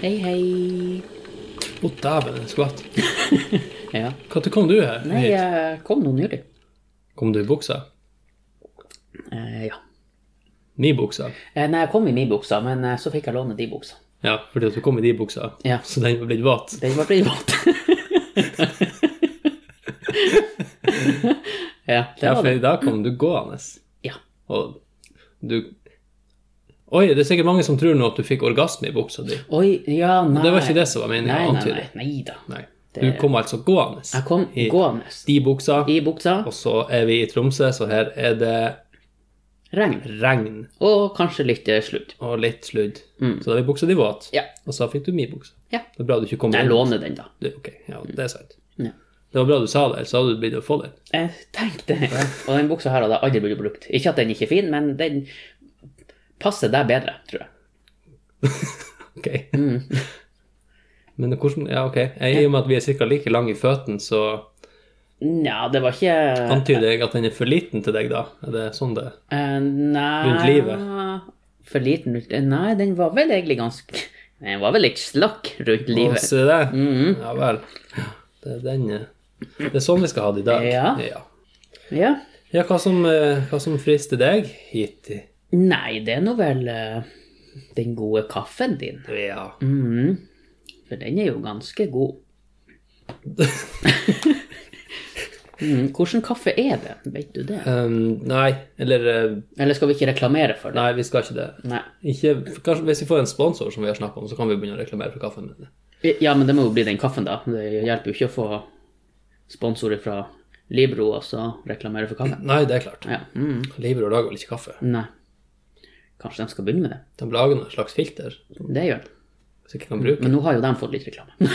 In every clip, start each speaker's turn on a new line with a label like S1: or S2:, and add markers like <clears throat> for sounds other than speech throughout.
S1: Hei, hei.
S2: Å, dæven, en skvatt.
S1: Ja.
S2: Når kom du her?
S1: Nei,
S2: hit?
S1: jeg kom nå nylig.
S2: Kom du i buksa?
S1: Eh, ja.
S2: Mi buksa?
S1: Eh, nei, jeg kom i min buksa, men eh, så fikk jeg låne de buksa.
S2: Ja, fordi at du kom i de buksa.
S1: Ja.
S2: Så den var blitt våt.
S1: Den var privat. <laughs> ja, det
S2: Ja,
S1: var
S2: for
S1: det.
S2: i dag kom du gående.
S1: Ja.
S2: Og du Oi, det er sikkert mange som tror nå at du fikk orgasme i buksa di.
S1: Oi, ja, nei.
S2: Det var ikke det som var meningen
S1: Nei,
S2: å
S1: nei,
S2: antyde.
S1: nei, nei da.
S2: Nei. Du
S1: Det-
S2: kom altså gående.
S1: Jeg kom
S2: I
S1: gående
S2: de buksa.
S1: i buksa,
S2: Og så er vi i Tromsø, så her er det
S1: regn
S2: regn
S1: og kanskje litt eh, sludd.
S2: og litt sludd. Så da er buksa di våt.
S1: Mm. Ja.
S2: Og så fikk du mi bukse.
S1: Ja.
S2: Det er bra du ikke kom
S1: Jeg
S2: inn.
S1: låner den, da.
S2: Det, ok, ja, det er sant.
S1: Ja.
S2: Det var bra du sa det, ellers hadde du blitt å få den.
S1: Jeg tenkte Og den buksa her hadde jeg aldri blitt brukt. Ikke at den ikke er fin, men den passer deg bedre, tror jeg.
S2: Ok.
S1: Mm.
S2: <laughs> Men hvordan Ja, ok. Jeg, I og med at vi er cirka like lang i føttene, så
S1: Nja, det var ikke
S2: antyder jeg at den er for liten til deg, da? Er det sånn det
S1: eh, Nei
S2: Rundt livet?
S1: For liten rundt Nei, den var vel egentlig ganske Den var vel litt slakk rundt
S2: Å,
S1: livet. Mm.
S2: Se der. Ja vel. Det er den eh, Det er sånn vi skal ha det i dag.
S1: Ja.
S2: ja.
S1: Ja.
S2: Ja, hva som, eh, hva som frister deg hit? i-
S1: Nei, det er nå vel eh, den gode kaffen din.
S2: Ja.
S1: Mhm. For den er jo ganske
S2: <laughs>
S1: god. mm, hvordan kaffe er det? Vet du det?
S2: Um, nei, eller eh,
S1: Eller skal vi ikke reklamere for det?
S2: Nei, vi skal ikke det.
S1: Nei.
S2: Ikke, kanskje Hvis vi får en sponsor, som vi har snakket om, så kan vi begynne å reklamere for kaffen. Men
S1: Ja, men det må jo bli den kaffen, da. Det hjelper jo ikke å få sponsorer fra Libro og så reklamere for kaffe.
S2: Nei, det er klart.
S1: Ja. Mm.
S2: Libro lager vel ikke kaffe?
S1: Nei. Kanskje de skal begynne med det.
S2: De lager noe slags filter
S1: Det gjør de.
S2: som ikke kan bruke.
S1: Men nå har jo de fått litt reklame.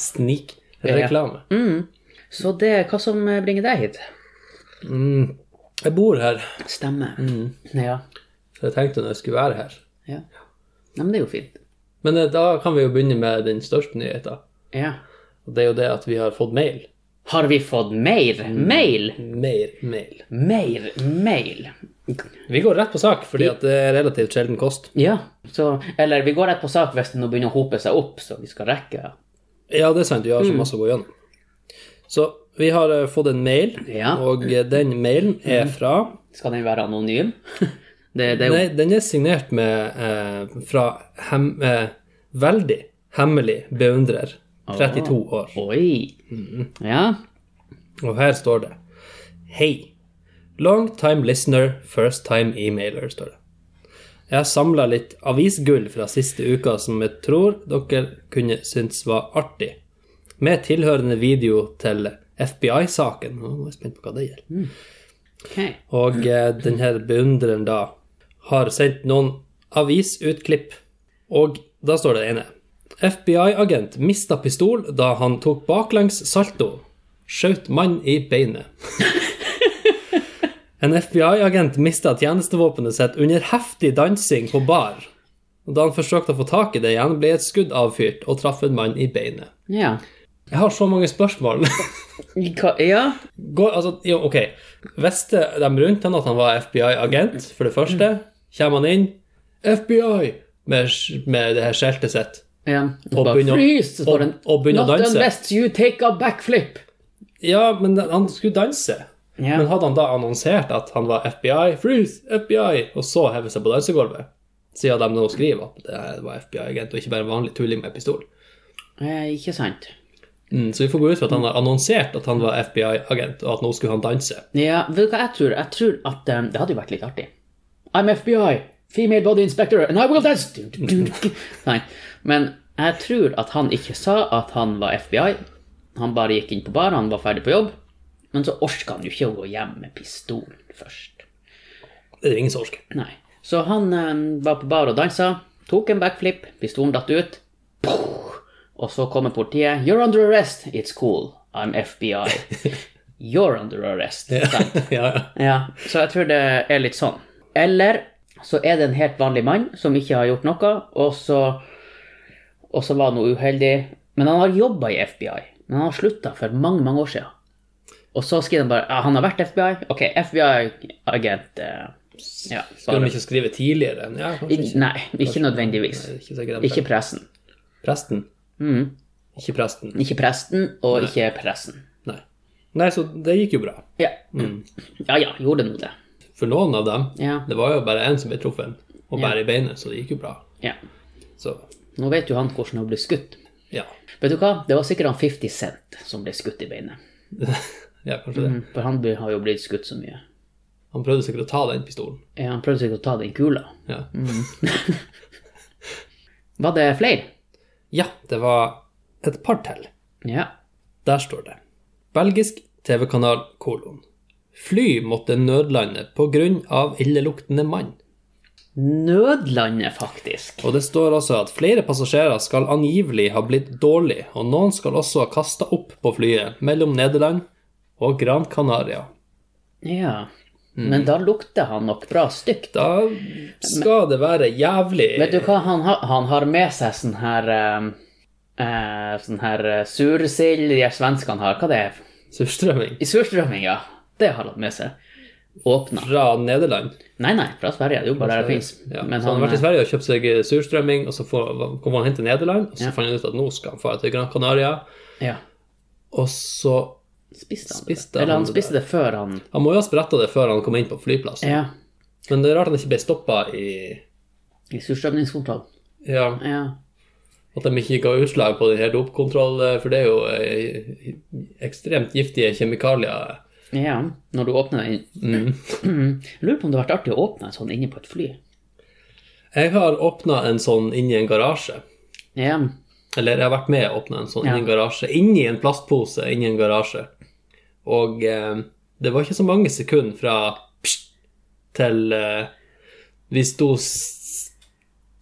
S2: Snikreklame.
S1: Så det er hva som bringer deg hit.
S2: Mm. Jeg bor her,
S1: Stemmer. Ja.
S2: for jeg tenkte når jeg skulle være her.
S1: ja. Nei, men det er jo fint.
S2: Men eh, da kan vi jo begynne med den største nyheten.
S1: Ja.
S2: Og det er jo det at vi har fått mail.
S1: Har vi fått mer? Mail?
S2: Mer mail.
S1: Mer mail.
S2: Vi går rett på sak, fordi at det er relativt sjelden kost.
S1: Ja, så Eller vi går rett på sak hvis det nå begynner å hope seg opp, så vi skal rekke.
S2: Ja, det er sant. Vi har så masse å gå gjennom. Så vi har eh, fått en mail,
S1: Ja.
S2: og eh, den mailen er fra
S1: Skal den være anonym? <laughs> Det, det er jo
S2: Nei, den er signert med eh, fra hem, eh, veldig hemmelig beundrer,
S1: Ah.
S2: 32 år.
S1: Oi. Ja.
S2: Og her står det Hei. Long time listener, first time emailer, står det. Jeg har samla litt avisgull fra siste uka som jeg tror dere kunne synes var artig. Med tilhørende video til FBI-saken. Nå er jeg spent på hva det gjelder.
S1: Ok.
S2: Og eh, den her beundreren da har sendt noen avisutklipp, og da står det ene. FBI-agent mista pistol da han tok baklengs salto. Skjøt mann i beinet. En FBI-agent mista tjenestevåpenet sitt under heftig dansing på bar. Og da han forsøkte å få tak i det igjen, ble et skudd avfyrt og traff en mann i beinet.
S1: Ja.
S2: Jeg har så mange spørsmål.
S1: Hva- ja.
S2: Går, altså, jo, ok. Visste de rundt han at han var FBI-agent, for det første? Kommer han inn FBI med, sk- med det her skjeltet sitt?
S1: ja.
S2: Og
S1: Bare
S2: begynne å-
S1: freeze, så står
S2: og-
S1: den.
S2: og begynne å
S1: Not
S2: danse.
S1: unless you take a backflip.
S2: Ja, men den- han skulle danse.
S1: Ja.
S2: Men hadde han da annonsert at han var FBI, freeze, FBI, og så hevet seg på dansegulvet? Siden de nå skriver at det her var FBI-agent, og ikke bare en vanlig tulling med pistol.
S1: Eh, ikke sant.
S2: Mm, så vi får gå ut fra at han har annonsert at han var FBI-agent, og at nå skulle han danse.
S1: Ja, vet du hva jeg tror? Jeg tror at eh, Det hadde jo vært litt artig. I'm FBI, female body inspector, and I will dance! Du, du, du, du. Nei, men jeg tror at han ikke sa at han var FBI. Han bare gikk inn på bar, han var ferdig på jobb. Men så orka han jo ikke å gå hjem med pistolen først.
S2: Det er jo ingen som orker.
S1: Nei. Så han eh, var på bar og dansa, tok en backflip, pistolen datt ut. Puh! Og så kommer politiet. You're under arrest. It's cool. I'm FBI.
S2: <laughs>
S1: You're under arrest. sant?
S2: ja, ja.
S1: Ja, så jeg tror det er litt sånn. Eller så er det en helt vanlig mann som ikke har gjort noe, og så, og så var han noe uheldig. Men han har jobba i FBI. Men han har slutta for mange, mange år siden. Og så skriver han bare ja, han har vært FBI. Ok, FBI-agent eh, Ja,
S2: Skulle de
S1: bare.
S2: ikke skrive tidligere? Ja, kanskje
S1: I-
S2: ikke.
S1: Nei, ikke nødvendigvis.
S2: Nei, ikke sikkert de-
S1: Ikke Mm. pressen.
S2: presten. Ikke presten.
S1: Ikke presten, og ikke pressen.
S2: Nei. Nei, så det gikk jo bra.
S1: Ja.
S2: Mm.
S1: Ja ja, gjorde nå det.
S2: For noen av dem
S1: Ja.
S2: Det var jo bare én som ble truffet, og bare i beinet, så det gikk jo bra.
S1: ja.
S2: Så
S1: Nå vet jo han hvordan han ble skutt.
S2: ja.
S1: Vet du hva, det var sikkert han 50 Cent som ble skutt i beinet.
S2: ja, kanskje det.
S1: For han ble- har jo blitt skutt så mye.
S2: Han prøvde sikkert å ta den pistolen.
S1: Ja, Han prøvde sikkert å ta den kula.
S2: Ja,
S1: Mm. Var det flere?
S2: ja det var et par til.
S1: Ja.
S2: Der står det Belgisk TV-kanal kolon. Fly måtte nødlande på grunn av illeluktende mann.
S1: Nødlandet, faktisk.
S2: Og det står også at flere passasjerer skal angivelig ha blitt dårlig, og noen skal også ha kasta opp på flyet mellom Nederland og Gran Canaria.
S1: Ja.
S2: Mm.
S1: Men da lukter han nok bra stygt.
S2: Da skal det være jævlig
S1: Vet du hva, han, har- han har med seg sånn her eh, eh, Sånn her eh, sursild de her svenskene har. Hva det er
S2: surstrømming
S1: I surstrømming, ja. Det har han med seg. Åpna.
S2: fra Nederland.
S1: Nei, nei, fra Sverige. Det er jo bare der det fins.
S2: Ja. så han har
S1: eh,
S2: vært i Sverige og kjøpt seg surstrømming, og så får- kom han hen til Nederland, og så fant han ut at nå skal han dra til Gran Canaria,
S1: ja,
S2: og så
S1: spiste han
S2: Spiste
S1: det? Eller
S2: han
S1: han
S2: det
S1: spiste det før han
S2: Han må jo ha spretta det før han kom inn på flyplassen.
S1: Ja.
S2: Men det er rart han ikke ble stoppa i
S1: I surstrømningskontroll.
S2: ja,
S1: Ja.
S2: At de ikke ga utslag på den her dopkontroll, for det er jo eh, ekstremt giftige kjemikalier. Mm.
S1: ja. Når du åpner den <clears throat> Jeg Lurer på om det har vært artig å åpne en sånn inne på et fly.
S2: Jeg har åpna en sånn inni en garasje.
S1: Ja.
S2: Eller jeg har vært med å åpne en sånn inni en garasje. Inni en plastpose inni en garasje. Og eh, det var ikke så mange sekunder fra pst, til eh, vi sto s-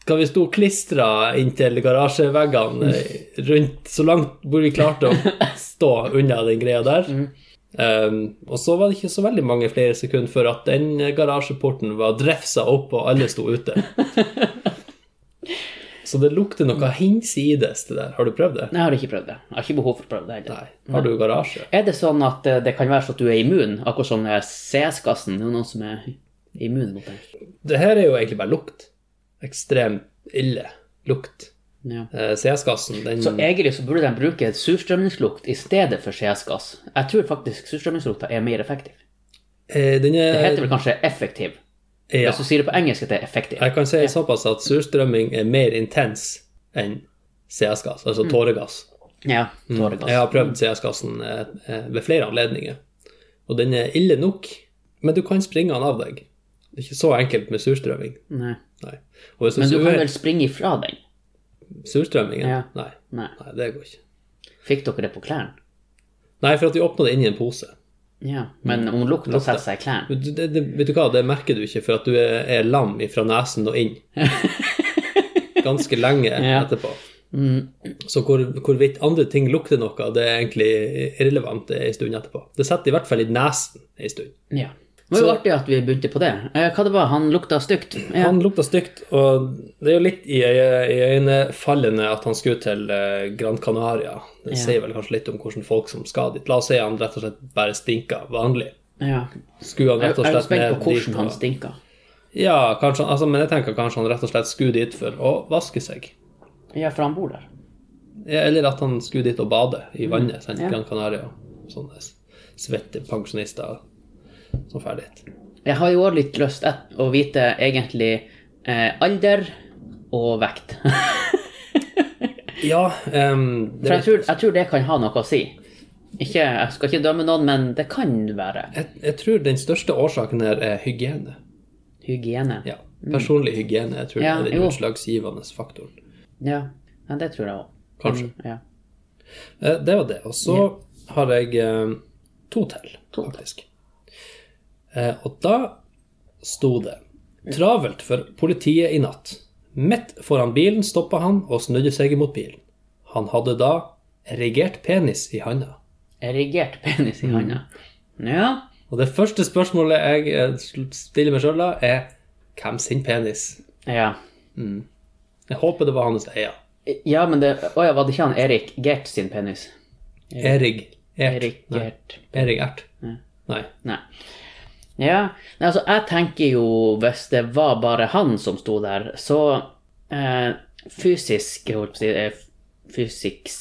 S2: Skal vi sto klistra inntil garasjeveggene eh, rundt så langt hvor vi klarte å stå unna den greia der. Eh, og så var det ikke så veldig mange flere sekunder før at den garasjeporten var drefsa opp, og alle sto ute. Så det lukter noe hinsides det der. Har du prøvd det?
S1: Jeg har ikke prøvd det. Jeg har ikke behov for å prøve det heller.
S2: Nei. Har du garasje?
S1: Er det sånn at eh, det kan være sånn at du er immun, akkurat som eh, CS-gassen? Det er jo noen som er immun mot det.
S2: Det her er jo egentlig bare lukt. Ekstremt ille lukt.
S1: Ja.
S2: Eh, CS-gassen, den
S1: Så egentlig så burde de bruke surstrømningslukt i stedet for CS-gass. Jeg tror faktisk surstrømningslukta er mer effektiv.
S2: eh, den er,
S1: Det heter vel kanskje effektiv.
S2: ja.
S1: Hvis du sier det på engelsk, at det er effektiv.
S2: Jeg kan si såpass at surstrømming er mer intens enn CS-gass,
S1: Mm.
S2: altså tåregass.
S1: Ja,
S2: Mm.
S1: tåregass.
S2: Jeg har prøvd CS-gassen eh, eh, ved flere anledninger, og den er ille nok, men du kan springe den av deg. Det er ikke så enkelt med surstrømming.
S1: Nei.
S2: Nei. Og hvis du,
S1: Men du kan
S2: suer
S1: vel springe ifra den?
S2: surstrømmingen
S1: Ja.
S2: nei.
S1: Nei.
S2: nei, det går ikke.
S1: Fikk dere det på klærne?
S2: Nei, for at de åpna det inn i en pose.
S1: Ja. Men
S2: Mm.
S1: om lukta setter seg i klærne?
S2: Men du- Det, det, vet du hva, det merker du ikke, for at du er, er lam fra nesen og
S1: <laughs>
S2: inn. Ganske lenge
S1: Ja. Mm.
S2: etterpå. Så hvor, hvorvidt andre ting lukter noe, det er egentlig irrelevant en stund etterpå. Det setter i hvert fall i nesen en stund.
S1: Ja. Det var jo
S2: Så-
S1: artig at vi begynte på det. Eh, Hva det var Han lukta stygt? Ja.
S2: Han lukta stygt, og det er jo litt i, øye- i øynefallende at han skulle til eh, Gran Canaria. Det sier vel kanskje litt om hvordan folk som skal dit. La oss si han rett og slett bare stinka vanlig.
S1: ja.
S2: Skulle han
S1: Jeg
S2: rett og
S1: jeg er
S2: slett
S1: spent
S2: ned
S1: på
S2: dit
S1: hvordan han
S2: og-
S1: stinka.
S2: Ja, kanskje, altså, men jeg tenker kanskje han rett og slett skulle dit for å vaske seg.
S1: Ja, for han bor der.
S2: Eller at han skulle dit og bade i vannet, sant?
S1: Mm. ja.
S2: Gran Canaria. Sånne s- svette pensjonister som drar dit.
S1: Jeg har jo òg litt lyst et- å vite egentlig eh, alder og vekt. <laughs>
S2: Ja, ehm,
S1: For
S2: det,
S1: jeg tror, jeg tror det kan ha noe å si. Ikke, jeg skal ikke dømme noen, men det kan være
S2: jeg, jeg tror den største årsaken her er hygiene.
S1: hygiene.
S2: Ja, personlig hygiene jeg tror
S1: Mm. Ja,
S2: det er
S1: jo.
S2: den utslagsgivende faktoren.
S1: Ja, ja, det tror jeg òg.
S2: Kanskje.
S1: Ja.
S2: Eh, Det var det. Og så har jeg eh, to til, faktisk. Eh, Og da sto det Travelt for politiet i natt. Midt foran bilen stoppa han og snudde seg mot bilen. Han hadde da erigert penis i handa.
S1: Erigert penis
S2: Mm.
S1: i handa. Ja.
S2: Og det første spørsmålet jeg eh, sl- stiller meg sjøl da, er hvem sin penis?
S1: ja.
S2: Jeg håper det var hans eier.
S1: Ja, men det Å ja, var det ikke han Erik Gert sin penis?
S2: Erig Ert.
S1: Erik
S2: Nei.
S1: Gert.
S2: Erig Ert. Nei.
S1: Nei. Ja, Nei, altså jeg tenker jo hvis det var bare han som sto der, så eh, fysisk jeg holdt på å si, eh, Fysiks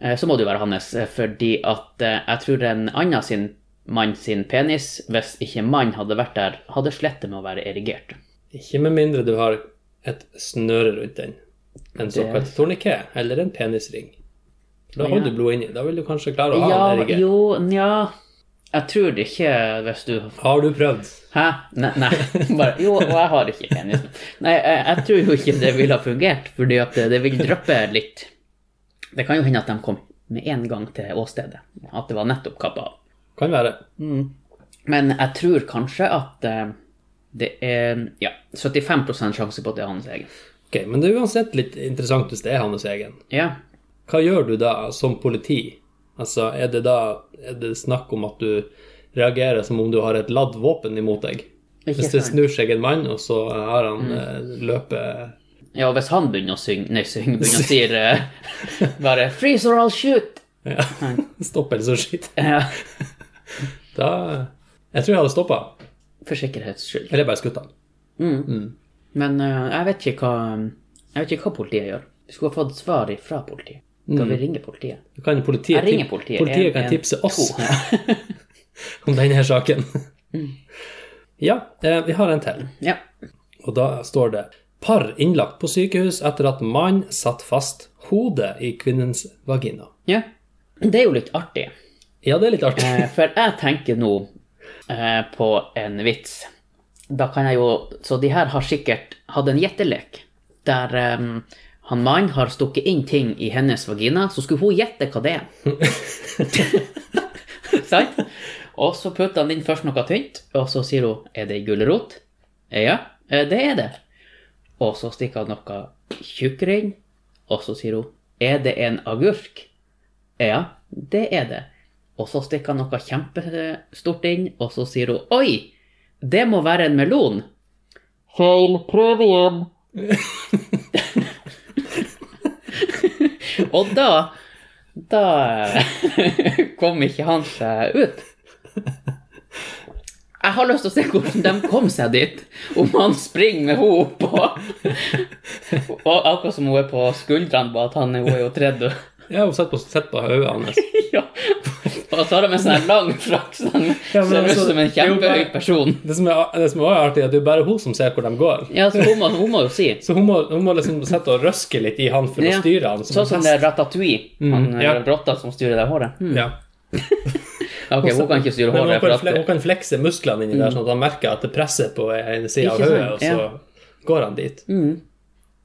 S1: eh, Så må det jo være hans, eh, fordi at eh, jeg tror en annen sin mann sin penis, hvis ikke mann hadde vært der, hadde slettet med å være erigert.
S2: Ikke med mindre du har et snøre rundt den. En såkalt torniké eller en penisring. Da holder
S1: Ja.
S2: du blodet inni. Da vil du kanskje klare å ha
S1: Ja,
S2: den erigert.
S1: jo, nja Jeg tror det ikke hvis du
S2: Har du prøvd?
S1: Hæ? Nei, nei. <laughs> Bare, jo, og jeg har ikke penis. Nei, jeg, jeg tror jo ikke det ville ha fungert, fordi at det, det vil dryppe litt. Det kan jo hende at de kom med en gang til åstedet, at det var nettopp kappa av.
S2: Kan være.
S1: Men jeg tror kanskje at eh, det er ja, 75 sjanse på at det er hans egen.
S2: Ok, Men det er uansett litt interessant hvis det er hans egen.
S1: Ja.
S2: Hva gjør du da som politi? Altså, er det da er det snakk om at du reagerer som om du har et ladd våpen imot deg?
S1: Ikke
S2: Hvis det
S1: sant. Mm.
S2: snur seg en mann, og så har han eh, løpet
S1: ja, og hvis han begynner å synge Nei, synge, begynner å si eh, <laughs> bare 'freeze or I'll shoot'.
S2: ja, <laughs> Stopp, eller så skyter jeg.
S1: Ja,
S2: Da eh, Jeg tror jeg hadde stoppa.
S1: for sikkerhets skyld.
S2: Eller bare skutt han.
S1: Men eh, jeg, vet ikke hva, jeg vet ikke hva politiet gjør. Vi skulle ha fått svar fra politiet. Skal vi ringe politiet?
S2: Da kan politiet,
S1: Jeg ringer
S2: tip-
S1: politiet. En,
S2: kan
S1: en,
S2: tipse oss
S1: to.
S2: <laughs>
S1: Mm.
S2: om denne saken. ja, eh, vi har en til.
S1: Ja.
S2: Og da står det Par innlagt på sykehus etter at mann satt fast hodet i kvinnens vagina.
S1: ja. Det er jo litt artig.
S2: Ja, det er litt artig.
S1: Eh, For jeg tenker nå eh, på en vits. Da kan jeg jo Så de her har sikkert hatt en gjettelek der eh, han mannen har stukket inn ting i hennes vagina, så skulle hun gjette hva det er. Sant? Og så putter han inn først noe tynt, og så sier hun 'Er det ei gulrot?' Ja, eh, det er det. Og så stikker han noe tjukkere inn, og så sier hun 'Er det en agurk?' Ja, det er det. Og så stikker han noe kjempestort inn, og så sier hun Oi, det må være en melon. Feil. Prøv igjen. <laughs> og da Da <laughs> kom ikke han seg ut. Jeg har lyst til å se hvordan de kom seg dit. Om han springer med henne oppå. <laughs> Og akkurat som hun er på skuldrene, bare at han er, hun er jo 30.
S2: Ja, hun setter på, sett på hodet hans.
S1: <laughs> Ja. Og så har de en sånn her lang frakk sånn,
S2: Ja, men
S1: ser ut
S2: altså,
S1: som en
S2: det er jo
S1: kjempehøy
S2: bare-
S1: person.
S2: Det som er, det som er også artig, er at det er bare hun som ser hvor de går.
S1: Ja, så hun må, hun må jo si.
S2: Så hun må, hun må liksom sette og røske litt i han for
S1: Ja.
S2: å styre han.
S1: Sånn som det er Ratatouille, han
S2: Mm, ja.
S1: eh, grotta som styrer det håret. Hm.
S2: ja.
S1: Ja, Ok, hun kan ikke styre
S2: Men hun
S1: håret.
S2: kan,
S1: For
S2: fle hun
S1: at,
S2: kan flekse musklene inni der, sånn at han merker at det presser på en side av
S1: Mm. Ikke
S2: hodet,
S1: sant,
S2: og så går han dit.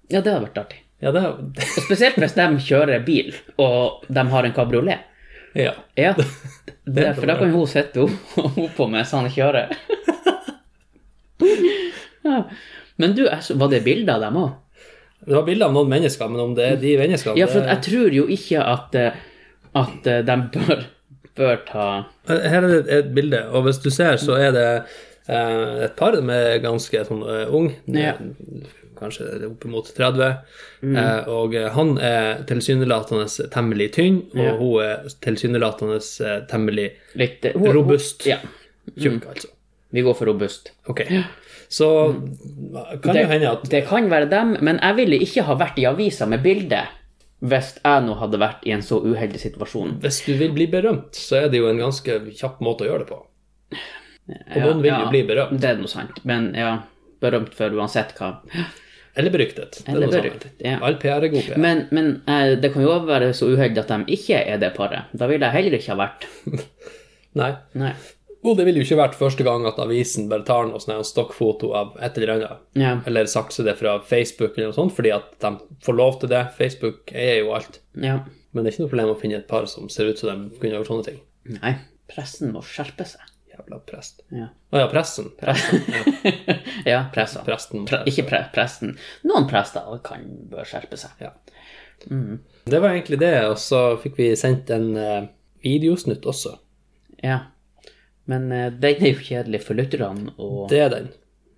S1: ja, det hadde vært artig.
S2: Ja, det er <laughs>
S1: Og Spesielt hvis de kjører bil, og de har en kabriolet.
S2: Ja. <laughs>
S1: Ja, det, for da kan hun sitte opp- <laughs> oppå mens han kjører.
S2: <laughs>
S1: Ja. Men du, jeg så- var det bilder av dem òg?
S2: Det var bilder av noen mennesker, men om det er de menneskene
S1: Ja, for
S2: det-
S1: at jeg tror jo ikke at, eh, at eh, de bør, bør ta
S2: Her er det et bilde, og hvis du ser, så er det eh, et par med ganske sånn eh, ung,
S1: Ja.
S2: kanskje oppimot 30, eh, og eh, han er tilsynelatende temmelig tynn, og
S1: Ja.
S2: hun er tilsynelatende eh, temmelig
S1: litt eh, ho- ho-
S2: robust.
S1: Ja,
S2: Tjukk,
S1: Mm.
S2: altså.
S1: vi går for robust.
S2: Ok. Så kan det jo hende at
S1: Mm. det kan være dem, men jeg ville ikke ha vært i avisa med bilde hvis jeg nå hadde vært i en så uheldig situasjon.
S2: hvis du vil bli berømt, så er det jo en ganske kjapp måte å gjøre det på. Og noen vil jo bli berømt.
S1: Det er noe sant, men ja, berømt for uansett hva.
S2: Eller beryktet. Det er
S1: Eller
S2: noe sånt.
S1: beryktet, ja.
S2: All PR er god PR.
S1: Men, men eh, det kan jo også være så uheldig at de ikke er det paret. Da ville jeg heller ikke ha vært.
S2: Nei.
S1: Nei.
S2: Og det ville jo ikke vært første gang at avisen bare tar noe sånn her stokkfoto av et eller annet.
S1: Ja.
S2: Eller sakser det fra Facebook eller noe sånt, fordi at de får lov til det. Facebook eier jo alt.
S1: ja.
S2: Men det er ikke noe problem å finne et par som ser ut som de kunne gjort sånne ting.
S1: Nei, pressen må skjerpe seg.
S2: Jævla prest.
S1: Ja.
S2: Å ja, pressen. <laughs> pressen. Ja,
S1: ja, pressa.
S2: presten.
S1: Pre ikke pre presten. Noen prester kan bør skjerpe seg.
S2: Ja. Det var egentlig det, og så fikk vi sendt en eh, videosnutt også.
S1: Ja. Men eh, den er jo kjedelig for lytterne og
S2: Det er den.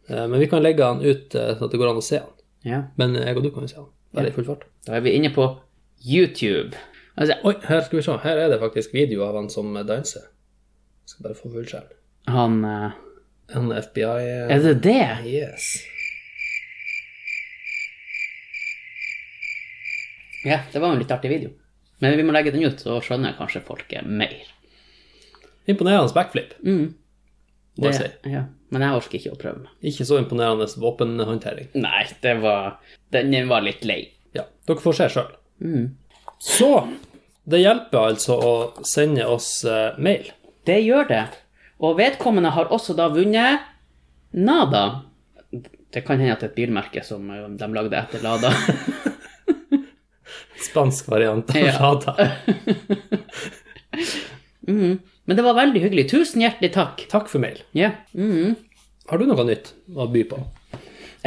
S2: Eh, men vi kan legge den ut eh, sånn at det går an å se den.
S1: Ja.
S2: Men jeg og du kan jo se den. Bare i full fart.
S1: Da er vi inne på YouTube. Altså,
S2: Oi, her skal vi se. Her er det faktisk video av han som danser. Jeg skal bare få full skjerm.
S1: Han eh,
S2: En FBI
S1: Er det det?
S2: eh, Yes.
S1: Ja, det var en litt artig video. Men vi må legge den ut, så skjønner kanskje folket mer.
S2: Imponerende backflip,
S1: Mm,
S2: må jeg si.
S1: ja. Men jeg orker ikke å prøve meg.
S2: Ikke så imponerende våpenhåndtering.
S1: Nei, det var Den var litt lei.
S2: Ja, dere får se sjøl.
S1: Mm.
S2: Så det hjelper altså å sende oss eh, mail.
S1: Det gjør det. Og vedkommende har også da vunnet Nada. Det kan hende at det er et bilmerke som eh, de lagde etter Lada.
S2: Spansk variant av
S1: Ja.
S2: Lada.
S1: Men det var veldig hyggelig. Tusen hjertelig takk.
S2: Takk for mail.
S1: Ja. Mhm.
S2: Har du noe nytt å by på?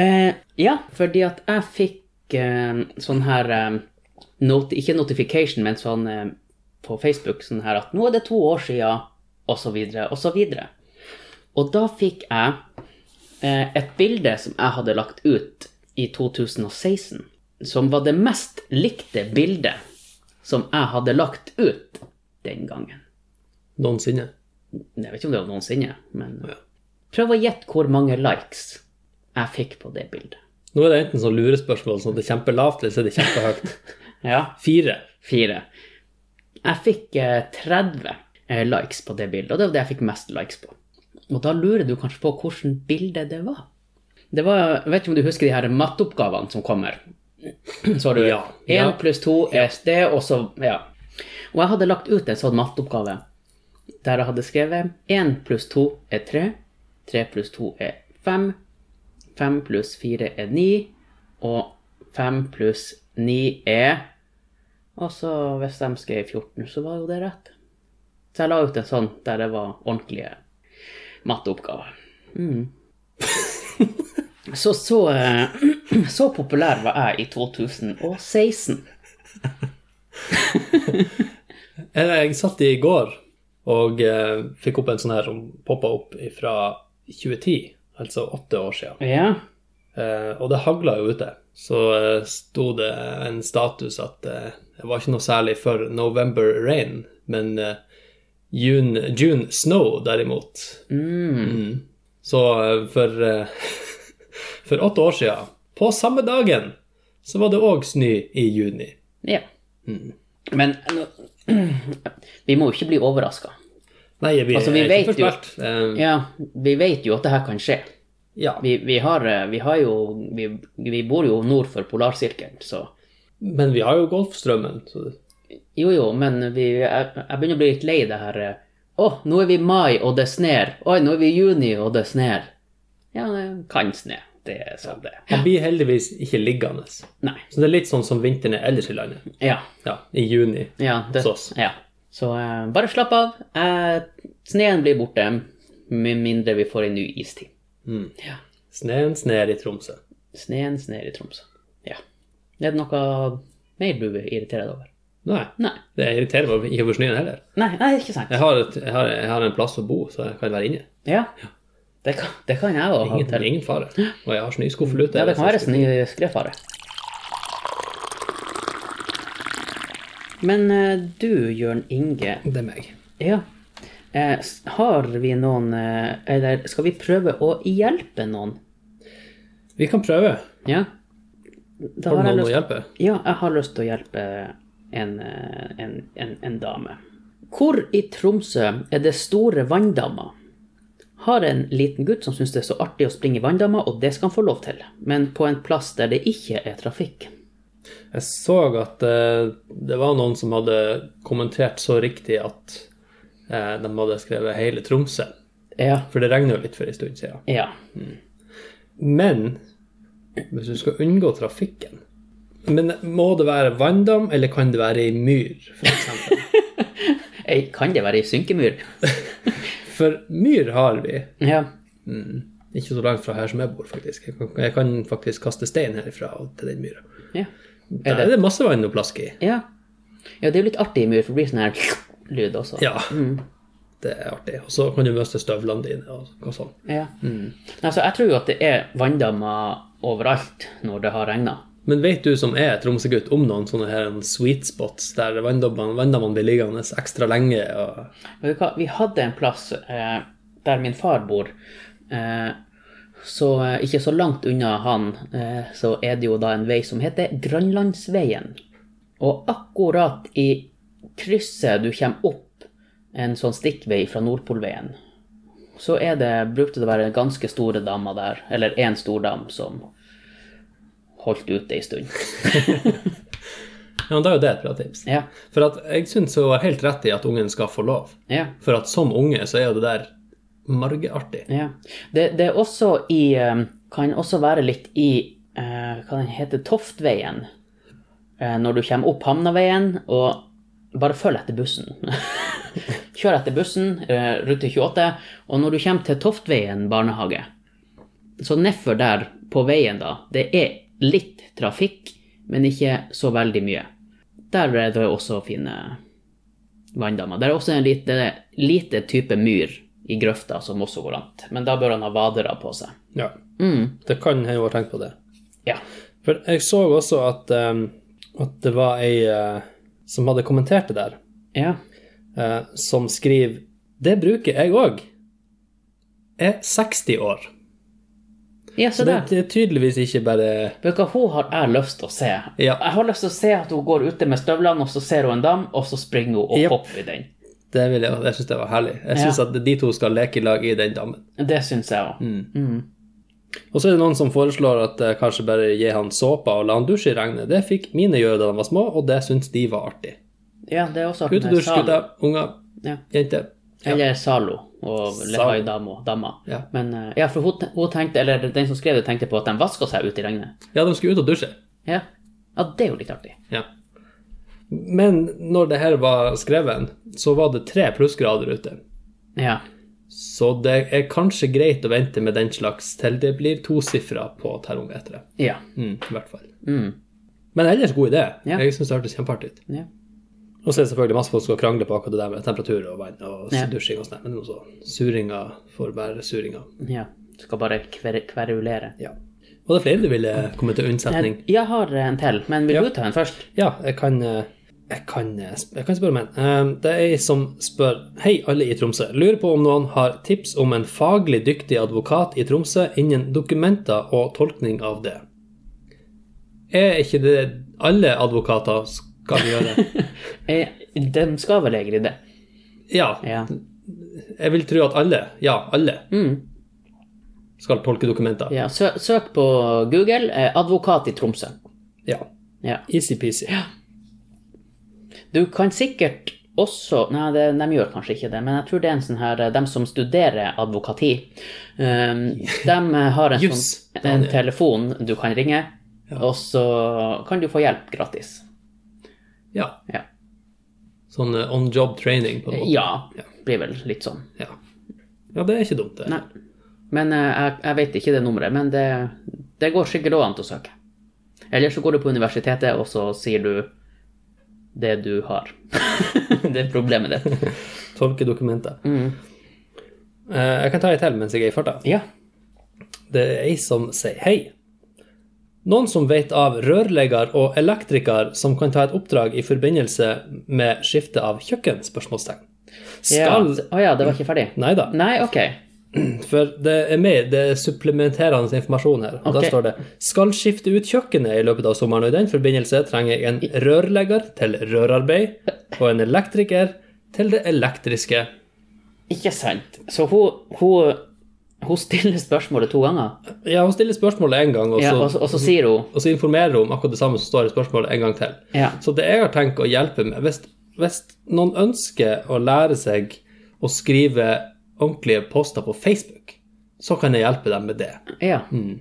S1: Eh, ja, fordi at jeg fikk eh, sånn her eh, not Ikke notification, men sånn eh, på Facebook sånn her at nå er det to år sia, og så videre, og så videre. Og da fikk jeg eh, et bilde som jeg hadde lagt ut i 2016, som var det mest likte bildet som jeg hadde lagt ut den gangen.
S2: Noensinne?
S1: Jeg vet ikke om det var noensinne, men
S2: Ja.
S1: prøv å gjette hvor mange likes jeg fikk på det bildet.
S2: Nå er det enten sånn lurespørsmål sånn at det er kjempelavt, eller så er det kjempehøyt.
S1: Ja,
S2: Fire.
S1: fire. Jeg fikk eh, 30 eh, likes på det bildet, og det var det jeg fikk mest likes på. Og da lurer du kanskje på hvilket bilde det var. Det var, jeg vet ikke om du husker de her matteoppgavene som kommer. Så har du
S2: Ja.
S1: 1
S2: Ja.
S1: pluss 2 er det, og så ja. Og jeg hadde lagt ut en sånn matteoppgave der jeg hadde skrevet 1 pluss 2 er 3, 3 pluss 2 er 5, 5 pluss 4 er 9, og 5 pluss 9 er og så hvis de skrev 14, så var jo det rett. Så jeg la ut en sånn der det var ordentlige matteoppgaver. Mm. så, så, eh, <clears throat> så populær var jeg i 2016.
S2: Jeg, Eh, jeg satt i går og eh, fikk opp en sånn her som poppa opp fra 2010, altså åtte år siden.
S1: Ja.
S2: Eh, og det hagla jo ute. Så eh, sto det en status at eh, det var ikke noe særlig for November rain, men eh, June, June snow derimot. Mm. Så eh, for, eh, <laughs> for åtte år siden, på samme dagen, så var det òg snø i juni.
S1: ja. Mm. Men nå- <clears throat> vi må jo ikke bli overraska.
S2: Nei, vi,
S1: Altså, vi
S2: er
S1: vet
S2: ikke
S1: jo-
S2: forspilt. Eh,
S1: Ja, vi vet jo at det her kan skje.
S2: ja.
S1: Vi, vi, har, eh, vi har jo vi, vi bor jo nord for polarsirkelen, så
S2: Men vi har jo Golfstrømmen. Så det-
S1: Jo, jo, men vi, jeg, jeg begynner å bli litt lei det her eh, Å, nå er vi i mai, og det sner. Oi, nå er vi i juni, og det sner. Ja, det kan sne. Det er sånn det er.
S2: han blir heldigvis ikke liggende.
S1: Nei.
S2: Så det er litt sånn som vinteren er ellers i landet.
S1: Ja.
S2: Ja, i juni.
S1: ja det,
S2: Hos oss.
S1: Ja. Så eh, bare slapp av. Eh, sneen blir borte med mindre vi får en ny istid.
S2: Mm.
S1: Ja.
S2: Sneen sner i Tromsø.
S1: Sneen sner i Tromsø. Ja. Er det noe mer du er irritert over?
S2: Nei,
S1: Nei.
S2: det irriterer meg ikke over snøen heller.
S1: Nei, nei ikke sant.
S2: Jeg har, et, jeg, har, jeg har en plass å bo, så jeg kan være inne.
S1: Ja. Det kan, det kan jeg òg ha
S2: Ingen,
S1: til.
S2: ingen fare. Og jeg har snøskuffer ute.
S1: Ja, det kan være sny- skredfare. Men eh, du, Jørn Inge,
S2: Det er meg.
S1: ja. Eh, s- har vi noen eh, Eller skal vi prøve å hjelpe noen?
S2: Vi kan prøve.
S1: Ja? Da
S2: Har
S1: har
S2: du
S1: jeg
S2: noen å
S1: lyst,
S2: hjelpe?
S1: ja, jeg har lyst til å hjelpe en, eh, en, en, en dame. Hvor i Tromsø er det store vanndammer? Har en liten gutt som syns det er så artig å springe i vanndammer, og det skal han få lov til, men på en plass der det ikke er trafikk.
S2: Jeg så at eh, det var noen som hadde kommentert så riktig at eh, de hadde skrevet hele Tromsø.
S1: Ja.
S2: For det regner jo litt for en stund siden.
S1: Ja.
S2: Men hvis du skal unngå trafikken Men må det være vanndam, eller kan det være ei myr, <laughs> f.eks.?
S1: Ei, Kan det være ei synkemyr?
S2: For myr har vi.
S1: Ja.
S2: Ikke så langt fra her som jeg bor, faktisk. Jeg kan, jeg kan faktisk kaste stein herifra og til den myra.
S1: Ja.
S2: Der er det masse vann å plaske i.
S1: ja. Ja, det er jo litt artig i myr, for det blir sånn her lyd også.
S2: Ja. Det er artig. Og så kan du miste støvlene dine og, og sånn.
S1: Ja. Mm. Nei, så jeg tror jo at det er vanndammer overalt når det har regna.
S2: Men vet du som er tromsøgutt om noen sånne her sweet spots der vanndammene vanndammene blir liggende ekstra lenge? Og...
S1: Vet du hva, vi hadde en plass eh, der min far bor, eh, så eh, ikke så langt unna han, eh, så er det jo da en vei som heter Grønlandsveien. Og akkurat i krysset du kommer opp en sånn stikkvei fra Nordpolveien, så er det, brukte det å være ganske store dammer der, eller én stor dam som holdt ute ei stund.
S2: Ja, men Da er jo det et bra tips.
S1: Ja,
S2: For at jeg syns hun har helt rett i at ungen skal få lov.
S1: ja.
S2: For at som unge så er jo det der margeartig.
S1: Ja. Det, det er også i eh, Kan også være litt i eh, Hva den heter Toftveien. Eh, når du kommer opp Hamnaveien, og bare følg etter bussen. <laughs> Kjør etter bussen, eh, rute 28, og når du kommer til Toftveien barnehage Så nedfor der, på veien, da, det er litt trafikk, men ikke så veldig mye. Der er det også fine vanndammer. Det er også en lite, lite type myr i grøfta som også går an. Men da bør han ha vadere på seg.
S2: Ja.
S1: Mm.
S2: Det kan hende hun har tenkt på det.
S1: Ja.
S2: For jeg så også at, ehm, at det var ei eh, som hadde kommentert det der,
S1: Ja.
S2: eh, som skriver Det bruker jeg òg. Er 60 år.
S1: ja,
S2: Så
S1: se
S2: det,
S1: der.
S2: det er tydeligvis ikke bare
S1: Vet du hva, hun har jeg lyst til å se.
S2: Ja.
S1: Jeg har lyst til å se at hun går ute med støvlene, og så ser hun en dam, og så springer hun og
S2: Jep.
S1: hopper i den.
S2: Det, vil jeg, jeg syns det var herlig. Jeg syns
S1: Ja.
S2: at de to skal leke i lag i den dammen.
S1: Det syns jeg òg.
S2: Mm. Og så er det noen som foreslår at eh, kanskje bare gi han såpa og la han dusje i regnet. Det fikk mine gjøre da de var små, og det syns de var artig.
S1: Ja, det er også at hun er
S2: Utedusj,
S1: salo.
S2: gutter, unger,
S1: Ja.
S2: jenter. Ja.
S1: Eller Zalo og
S2: Zalo.
S1: Lehai Damo, dama.
S2: Ja.
S1: Men eh, ja, for hun, te- hun tenkte, eller den som skrev det, tenkte på at de vasker seg ute i regnet.
S2: Ja, de skulle ut og dusje.
S1: Ja. ja, det er jo litt artig.
S2: Ja. Men når det her var skrevet, så var det tre plussgrader ute.
S1: Ja.
S2: Så det er kanskje greit å vente med den slags til det blir tosifra på termometeret.
S1: Ja.
S2: Mm, I hvert fall.
S1: Mm.
S2: Men ellers god idé.
S1: Ja.
S2: Jeg syns det hørtes kjempeartig ut.
S1: ja.
S2: Og så er det selvfølgelig masse folk som skal krangle på akkurat det der med temperatur og vann og
S1: Ja.
S2: dusjing og sånn, men også suringa får være suringa.
S1: Ja. Skal bare kver kverulere.
S2: Ja. Og det er flere du ville komme til unnsetning.
S1: Jeg, jeg har en til, men vil
S2: Ja.
S1: du ta en først?
S2: Ja, jeg kan, eh, jeg kan, eh, sp- jeg kan spørre om en. Eh, Det er ei som spør Hei, alle i Tromsø. Lurer på om noen har tips om en faglig dyktig advokat i Tromsø innen dokumenter og tolkning av det. Er ikke det alle advokater skal
S1: <laughs>
S2: gjøre?
S1: Eh, de skal vel egentlig det.
S2: Ja.
S1: Ja.
S2: Jeg vil tro at alle, ja, alle,
S1: Mm.
S2: skal tolke dokumenter.
S1: ja. Sø søk på Google eh, 'advokat i Tromsø'.
S2: Ja.
S1: Ja.
S2: Easy-peasy.
S1: Du kan sikkert også Nei, det, de gjør kanskje ikke det, men jeg tror det er en sånn her eh, De som studerer advokati, um, <laughs> de har en,
S2: Jus,
S1: sånn, en
S2: Daniel.
S1: telefon du kan ringe, og så kan du få hjelp gratis.
S2: Ja.
S1: Ja. Eh,
S2: Sånn eh, on job training på en måte.
S1: Ja, blir vel litt sånn.
S2: Ja. Ja, det er ikke dumt, det.
S1: Nei. Men eh, jeg, jeg vet ikke det nummeret, men det, det går sikkert også an til å søke. Eller så går du på universitetet, og så sier du det du har. <laughs> det er problemet
S2: <laughs>
S1: ditt.
S2: Tolke dokumenter.
S1: Mm.
S2: Eh, jeg kan ta en til mens jeg er i farta.
S1: Ja.
S2: Det er ei som sier hei. Noen som vet av rørlegger og elektriker som kan ta et oppdrag i forbindelse med skifte av kjøkken? spørsmålstegn. Skal
S1: Ja. Å ja, det var ikke ferdig?
S2: Nei da,
S1: Nei, ok.
S2: for det er med, det er supplementerende informasjon her. og Da
S1: Ok.
S2: står det skal skifte ut kjøkkenet i løpet av sommeren, og i den forbindelse trenger jeg en rørlegger til rørarbeid og en elektriker til det elektriske.
S1: Ikke sant. Så hun, hun, hun stiller spørsmålet to ganger,
S2: Ja, hun stiller spørsmålet én gang, og
S1: ja,
S2: så
S1: og, så- og så sier hun
S2: og så informerer hun om akkurat det samme som står i spørsmålet en gang til.
S1: Ja.
S2: Så det jeg har tenkt å hjelpe med, hvis, hvis noen ønsker å lære seg å skrive ordentlige poster på Facebook, så kan jeg hjelpe dem med det.
S1: Ja.
S2: Mm.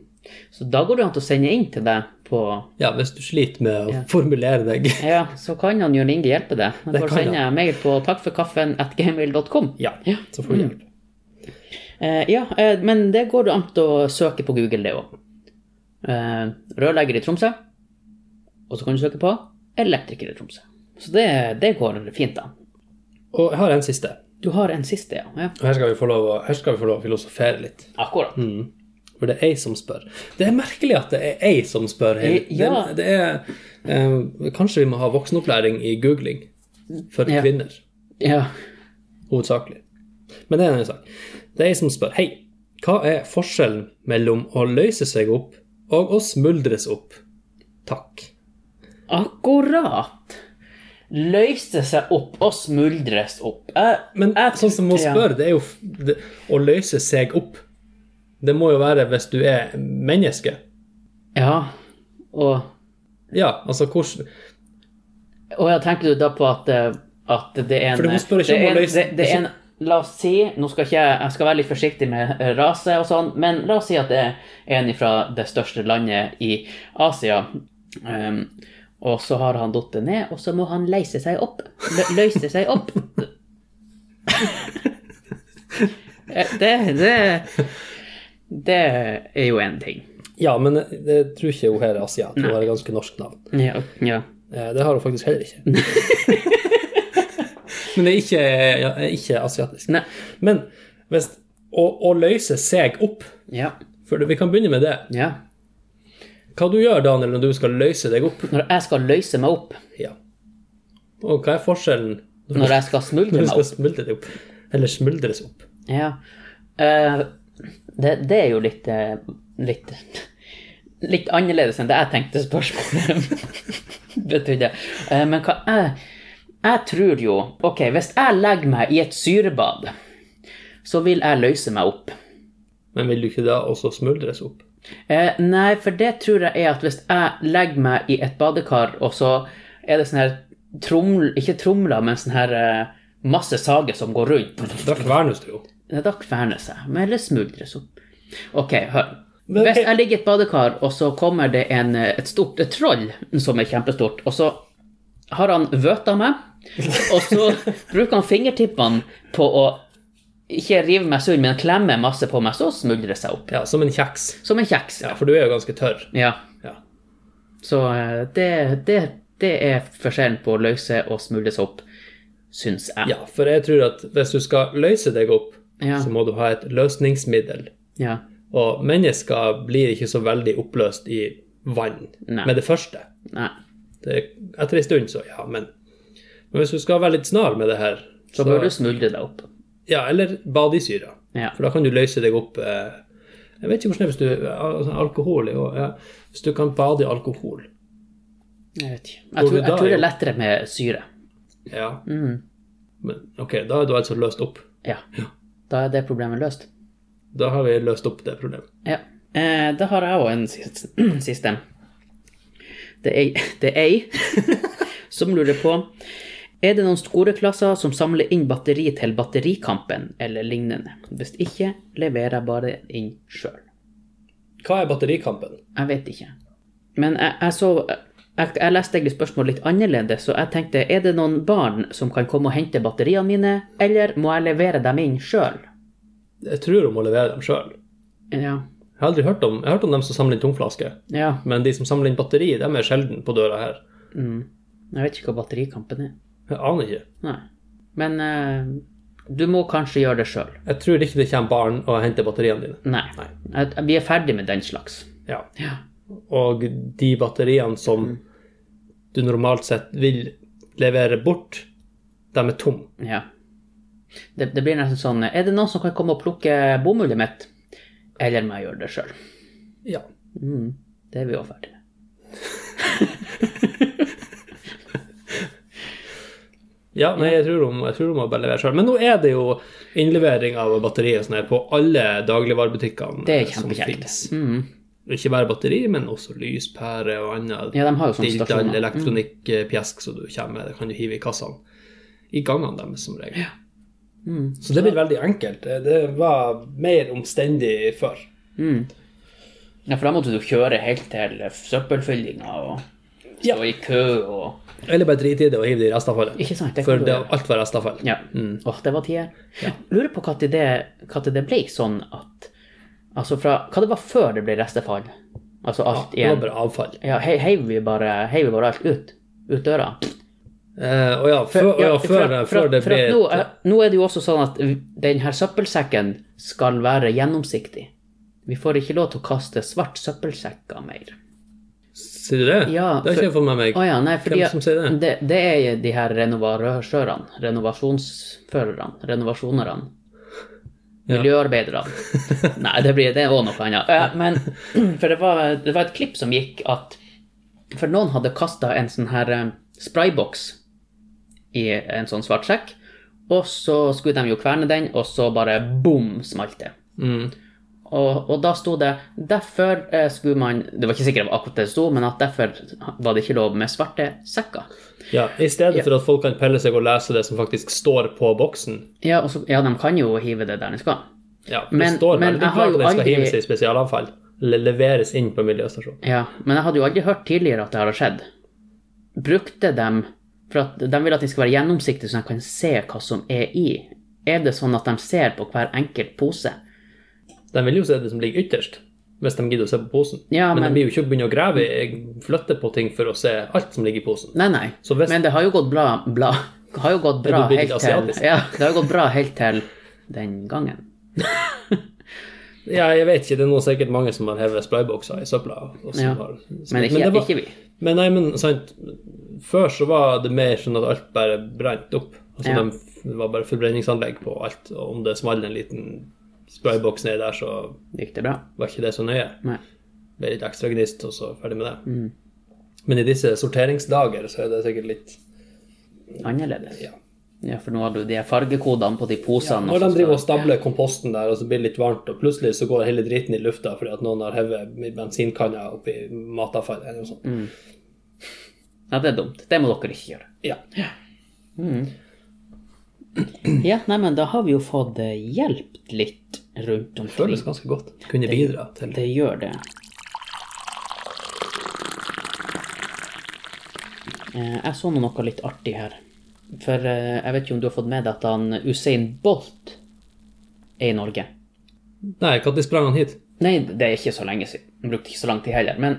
S1: Så da går det an til å sende inn til deg på
S2: Ja, hvis du sliter med å formulere deg.
S1: Ja, så kan han Jørn Inge hjelpe deg. Du
S2: Det
S1: får
S2: kan
S1: sende mail på takkforkaffen.gmail.com.
S2: Ja,
S1: Ja. Mm.
S2: så får du hjelp.
S1: Eh, ja, eh, men det går det an til å søke på Google, det òg. Eh, rørlegger i Tromsø. Og så kan du søke på elektriker i Tromsø. Så det, det går fint, da.
S2: Og jeg har en siste.
S1: Du har en siste, ja. ja.
S2: Og her skal vi få lov å, her skal vi få lov å filosofere litt.
S1: Akkurat.
S2: Mm. For det er ei som spør. Det er merkelig at det er ei som spør. Hei.
S1: Ja.
S2: Det, det er, eh, kanskje vi må ha voksenopplæring i googling for
S1: Ja.
S2: kvinner.
S1: Ja.
S2: hovedsakelig. Men det er en annen sak. Det er ei som spør Hei, hva er forskjellen mellom å løse seg opp og å smuldres opp? Takk.
S1: Akkurat. Løste seg opp og smuldres opp. Eh, Jeg,
S2: Men
S1: jeg
S2: sånn som hun
S1: tror-
S2: spør, det er jo f- det, å løse seg opp. Det må jo være hvis du er menneske.
S1: Ja. Og,
S2: Ja, altså hvordan
S1: og jeg tenker du da på at, eh, at det er en
S2: For hun spør ikke
S1: det
S2: om
S1: er
S2: å
S1: en-
S2: løse-
S1: det, det er en, La oss si Nå skal ikke jeg Jeg skal være litt forsiktig med eh, rase og sånn, men la oss si at det er en fra det største landet i Asia. Ehm, og så har han datt ned, og så må han leise seg opp. Lø løse seg
S2: <laughs>
S1: opp. Eh, det, det Det er jo én ting.
S2: Ja, men jeg jeg tror ikke hun her er asiat. Hun har et ganske norsk navn.
S1: Ja, ja.
S2: Eh, Det har hun faktisk heller ikke. <laughs> men det er ikke, ja, er ikke asiatisk.
S1: Nei.
S2: Men hvis, å, å løse seg opp
S1: Ja.
S2: For vi kan begynne med det.
S1: ja.
S2: Hva du gjør, Daniel, når du skal løse deg opp?
S1: Når jeg skal løse meg opp,
S2: Ja. Og hva er forskjellen <laughs> når
S1: når jeg skal smuldre
S2: du
S1: meg
S2: skal
S1: opp
S2: smuldre deg opp? Eller smuldres opp?
S1: ja. Eh, det, det er jo litt eh, litt, litt annerledes enn det jeg tenkte spørsmålet <laughs> betydde. Eh, men hva jeg, jeg tror jo Ok, hvis jeg legger meg i et syrebad, så vil jeg løse meg opp.
S2: Men vil du ikke da også smuldres opp?
S1: Eh, nei, for det tror jeg er at hvis jeg legger meg i et badekar, og så er det sånn her troml... Ikke tromler, men sånn her eh, masse sager som går rundt.
S2: Da kvernes du jo.
S1: Nei, Da kverner seg, men eller smuldres opp. Ok, hør.
S2: Men-
S1: Hvis jeg ligger i et badekar, og så kommer det en, eh, et stort et troll som er kjempestort, og så har han vøta meg, og
S2: <laughs>
S1: så bruker han fingertippene på å ikke rive meg sund, men klemme masse på meg, så smuldrer jeg seg opp.
S2: Ja, som en kjeks.
S1: Som en kjeks.
S2: Ja, for du er jo ganske tørr.
S1: Ja.
S2: Ja.
S1: Så eh, det, det, det er forskjellen på å løse og smuldre seg opp, syns jeg.
S2: ja, for jeg tror at hvis du skal løse deg opp,
S1: Ja.
S2: så må du ha et løsningsmiddel.
S1: Ja.
S2: Og mennesker blir ikke så veldig oppløst i vann
S1: Nei.
S2: med det første.
S1: Nei.
S2: Det, etter en stund, så ja, men Men hvis du skal være litt snar med det her,
S1: Så bør du smuldre deg opp.
S2: Ja, eller bade i syre.
S1: Ja.
S2: For da kan du løse deg opp eh, Jeg vet ikke hvordan det er hvis du altså, Alkohol er jo ja, Hvis du kan bade i alkohol
S1: Jeg vet ikke. Jeg
S2: Går
S1: tror,
S2: du da
S1: jeg tror det
S2: i-
S1: er lettere med syre.
S2: Ja. Men OK, da er du altså løst opp.
S1: Ja. Da er det problemet løst.
S2: Da har vi løst opp det problemet.
S1: Ja. Eh, da har jeg òg en siste. <clears throat> siste. Det er, det er ei <laughs> som lurer på Er det noen store klasser som samler inn batteri til Batterikampen eller lignende? Hvis ikke, leverer jeg bare inn sjøl.
S2: Hva er batterikampen?
S1: Jeg vet ikke. Men jeg, jeg så jeg, jeg leste egentlig spørsmålet litt annerledes, så jeg tenkte er det noen barn som kan komme og hente batteriene mine, eller må jeg levere dem inn sjøl?
S2: Jeg tror hun må levere dem sjøl.
S1: Ja.
S2: Jeg har aldri hørt om, jeg har hørt om dem som samler inn tomflasker.
S1: ja.
S2: Men de som samler inn batteri, dem er sjelden på døra her.
S1: Jeg vet ikke hva batterikampen er.
S2: Jeg aner ikke.
S1: Nei. Men eh, du må kanskje gjøre det sjøl.
S2: Jeg tror ikke det kommer barn og henter batteriene dine.
S1: Nei. Jeg- Vi er ferdig med den slags.
S2: Ja.
S1: Ja.
S2: Og de batteriene som
S1: Mm.
S2: du normalt sett vil levere bort, de er tomme.
S1: ja. Det, det blir nesten sånn Er det noen som kan komme og plukke bomullet mitt? Eller må jeg gjøre det sjøl?
S2: Ja.
S1: Mm. Det er vi også ferdig med.
S2: Ja, nei, jeg tror hun jeg tror hun må bare levere sjøl. Men nå er det jo innlevering av batteri og sånn her på alle dagligvarebutikkene
S1: Det er
S2: eh, som
S1: kjempekjekt.
S2: finnes.
S1: Mm.
S2: Ikke bare batteri, men også lyspære og annet.
S1: Ja, de har jo sånne
S2: Dilt all
S1: stasjoner. Mm.
S2: elektronikkpjesk som du kommer med, det kan du hive i kassene. I gangene deres, som regel.
S1: Mm.
S2: Så det blir veldig enkelt. Det var mer omstendig før.
S1: Mm. Ja, for da måtte du kjøre helt til søppelfyllinga og stå
S2: Ja.
S1: i kø og
S2: Eller bare drite i det og hive det i restavfallet.
S1: Ikke sant? Det kan
S2: For
S1: du
S2: det,
S1: gjøre.
S2: alt var restavfall.
S1: Ja.
S2: Mm.
S1: Åh, det var tider. Lurer på når det, hva til det ble sånn at Altså fra Hva det var før det ble restefall? Altså alt
S2: Det var
S1: igjen.
S2: bare Ah, avfall.
S1: Ja, hei- heiv vi bare heiv vi bare alt ut? Ut døra?
S2: Eh, og ja, før, og ja, før,
S1: for at- for
S2: før
S1: at-
S2: det
S1: for
S2: ble
S1: at
S2: et-
S1: nå, er- nå er det jo også sånn at den her søppelsekken skal være gjennomsiktig. Vi får ikke lov til å kaste svart søppelsekker mer.
S2: Sier du det?
S1: Ja,
S2: det
S1: for-
S2: har ikke jeg fått med meg.
S1: Å ja, nei, fordi
S2: Hvem som sier det?
S1: Det, det er de her renovatørene, renovasjonsførerne, renovasjonerne. Miljøarbeiderne. Nei, det blir det òg noe annet. Eh, Men <clears throat> For det var, det var et klipp som gikk at For noen hadde kasta en sånn her eh, sprayboks i en sånn svart sekk, og så skulle de jo kverne den, og så bare bom, smalt det. Og, og da sto det Derfor eh, skulle man Det var ikke sikkert det var akkurat det det sto, men at derfor var det ikke lov med svarte sekker.
S2: Ja, I stedet for at folk kan pelle seg og lese det som faktisk står på boksen.
S1: Ja, og så, ja de kan jo hive det der de skal.
S2: Ja, for
S1: Men-
S2: det står
S1: men
S2: veldig
S1: jeg har
S2: klart
S1: jo
S2: at den skal
S1: aldri-
S2: hives i spesialavfall. Eller leveres inn på miljøstasjonen.
S1: Ja, men jeg hadde jo aldri hørt tidligere at det har skjedd. Brukte dem For at de vil at de skal være gjennomsiktige, så de kan se hva som er i. Er det sånn at de ser på hver enkelt pose?
S2: De vil jo se det som ligger ytterst, hvis de gidder å se på posen.
S1: Ja,
S2: men,
S1: men-
S2: de vil jo ikke begynne å grave i, flytte på ting for å se alt som ligger i posen.
S1: Nei, nei.
S2: Så hvis-
S1: Men det har jo gått bra, bla, <laughs> har jo gått bra
S2: du blitt
S1: helt
S2: litt
S1: til
S2: asiatisk?
S1: Ja, det har jo gått bra helt til den gangen.
S2: Ja, jeg vet ikke, det er noe sikkert mange som har hevet spraybokser i søpla. og som
S1: Ja.
S2: har-
S1: Men ikke,
S2: det var-
S1: ikke vi.
S2: Men nei, men sant, før så var det mer sånn at alt bare brant opp. Altså
S1: Ja.
S2: de- Det var bare forbrenningsanlegg på alt, og om det smalt en liten sprayboks nedi der, så
S1: Gikk det bra?
S2: var ikke det så nøye.
S1: Nei. Mm.
S2: Ble litt ekstra gnist, og så ferdig med det. Men i disse sorteringsdager så er det sikkert litt
S1: Annerledes.
S2: Ja.
S1: Ja, for nå har du de her fargekodene på de posene.
S2: Når de
S1: og så
S2: driver og
S1: skal-
S2: stabler komposten der, og så blir det litt varmt, og plutselig så går hele driten i lufta fordi at noen har hevet bensinkanna oppi matavfallet eller noe sånt.
S1: Ja, det er dumt. Det må dere ikke gjøre.
S2: Ja.
S1: Ja, nei, men da har vi jo fått eh, hjulpet litt rundt
S2: Det
S1: omkring.
S2: føles ganske godt. Kunne bidra til
S1: Det gjør det. Eh, Jeg så nå noe litt artig her. For eh, jeg vet ikke om du har fått med deg at han Usain Bolt er i Norge.
S2: Nei, når sprang han hit?
S1: Nei, det er ikke så lenge siden. Han brukte ikke så lang tid heller. Men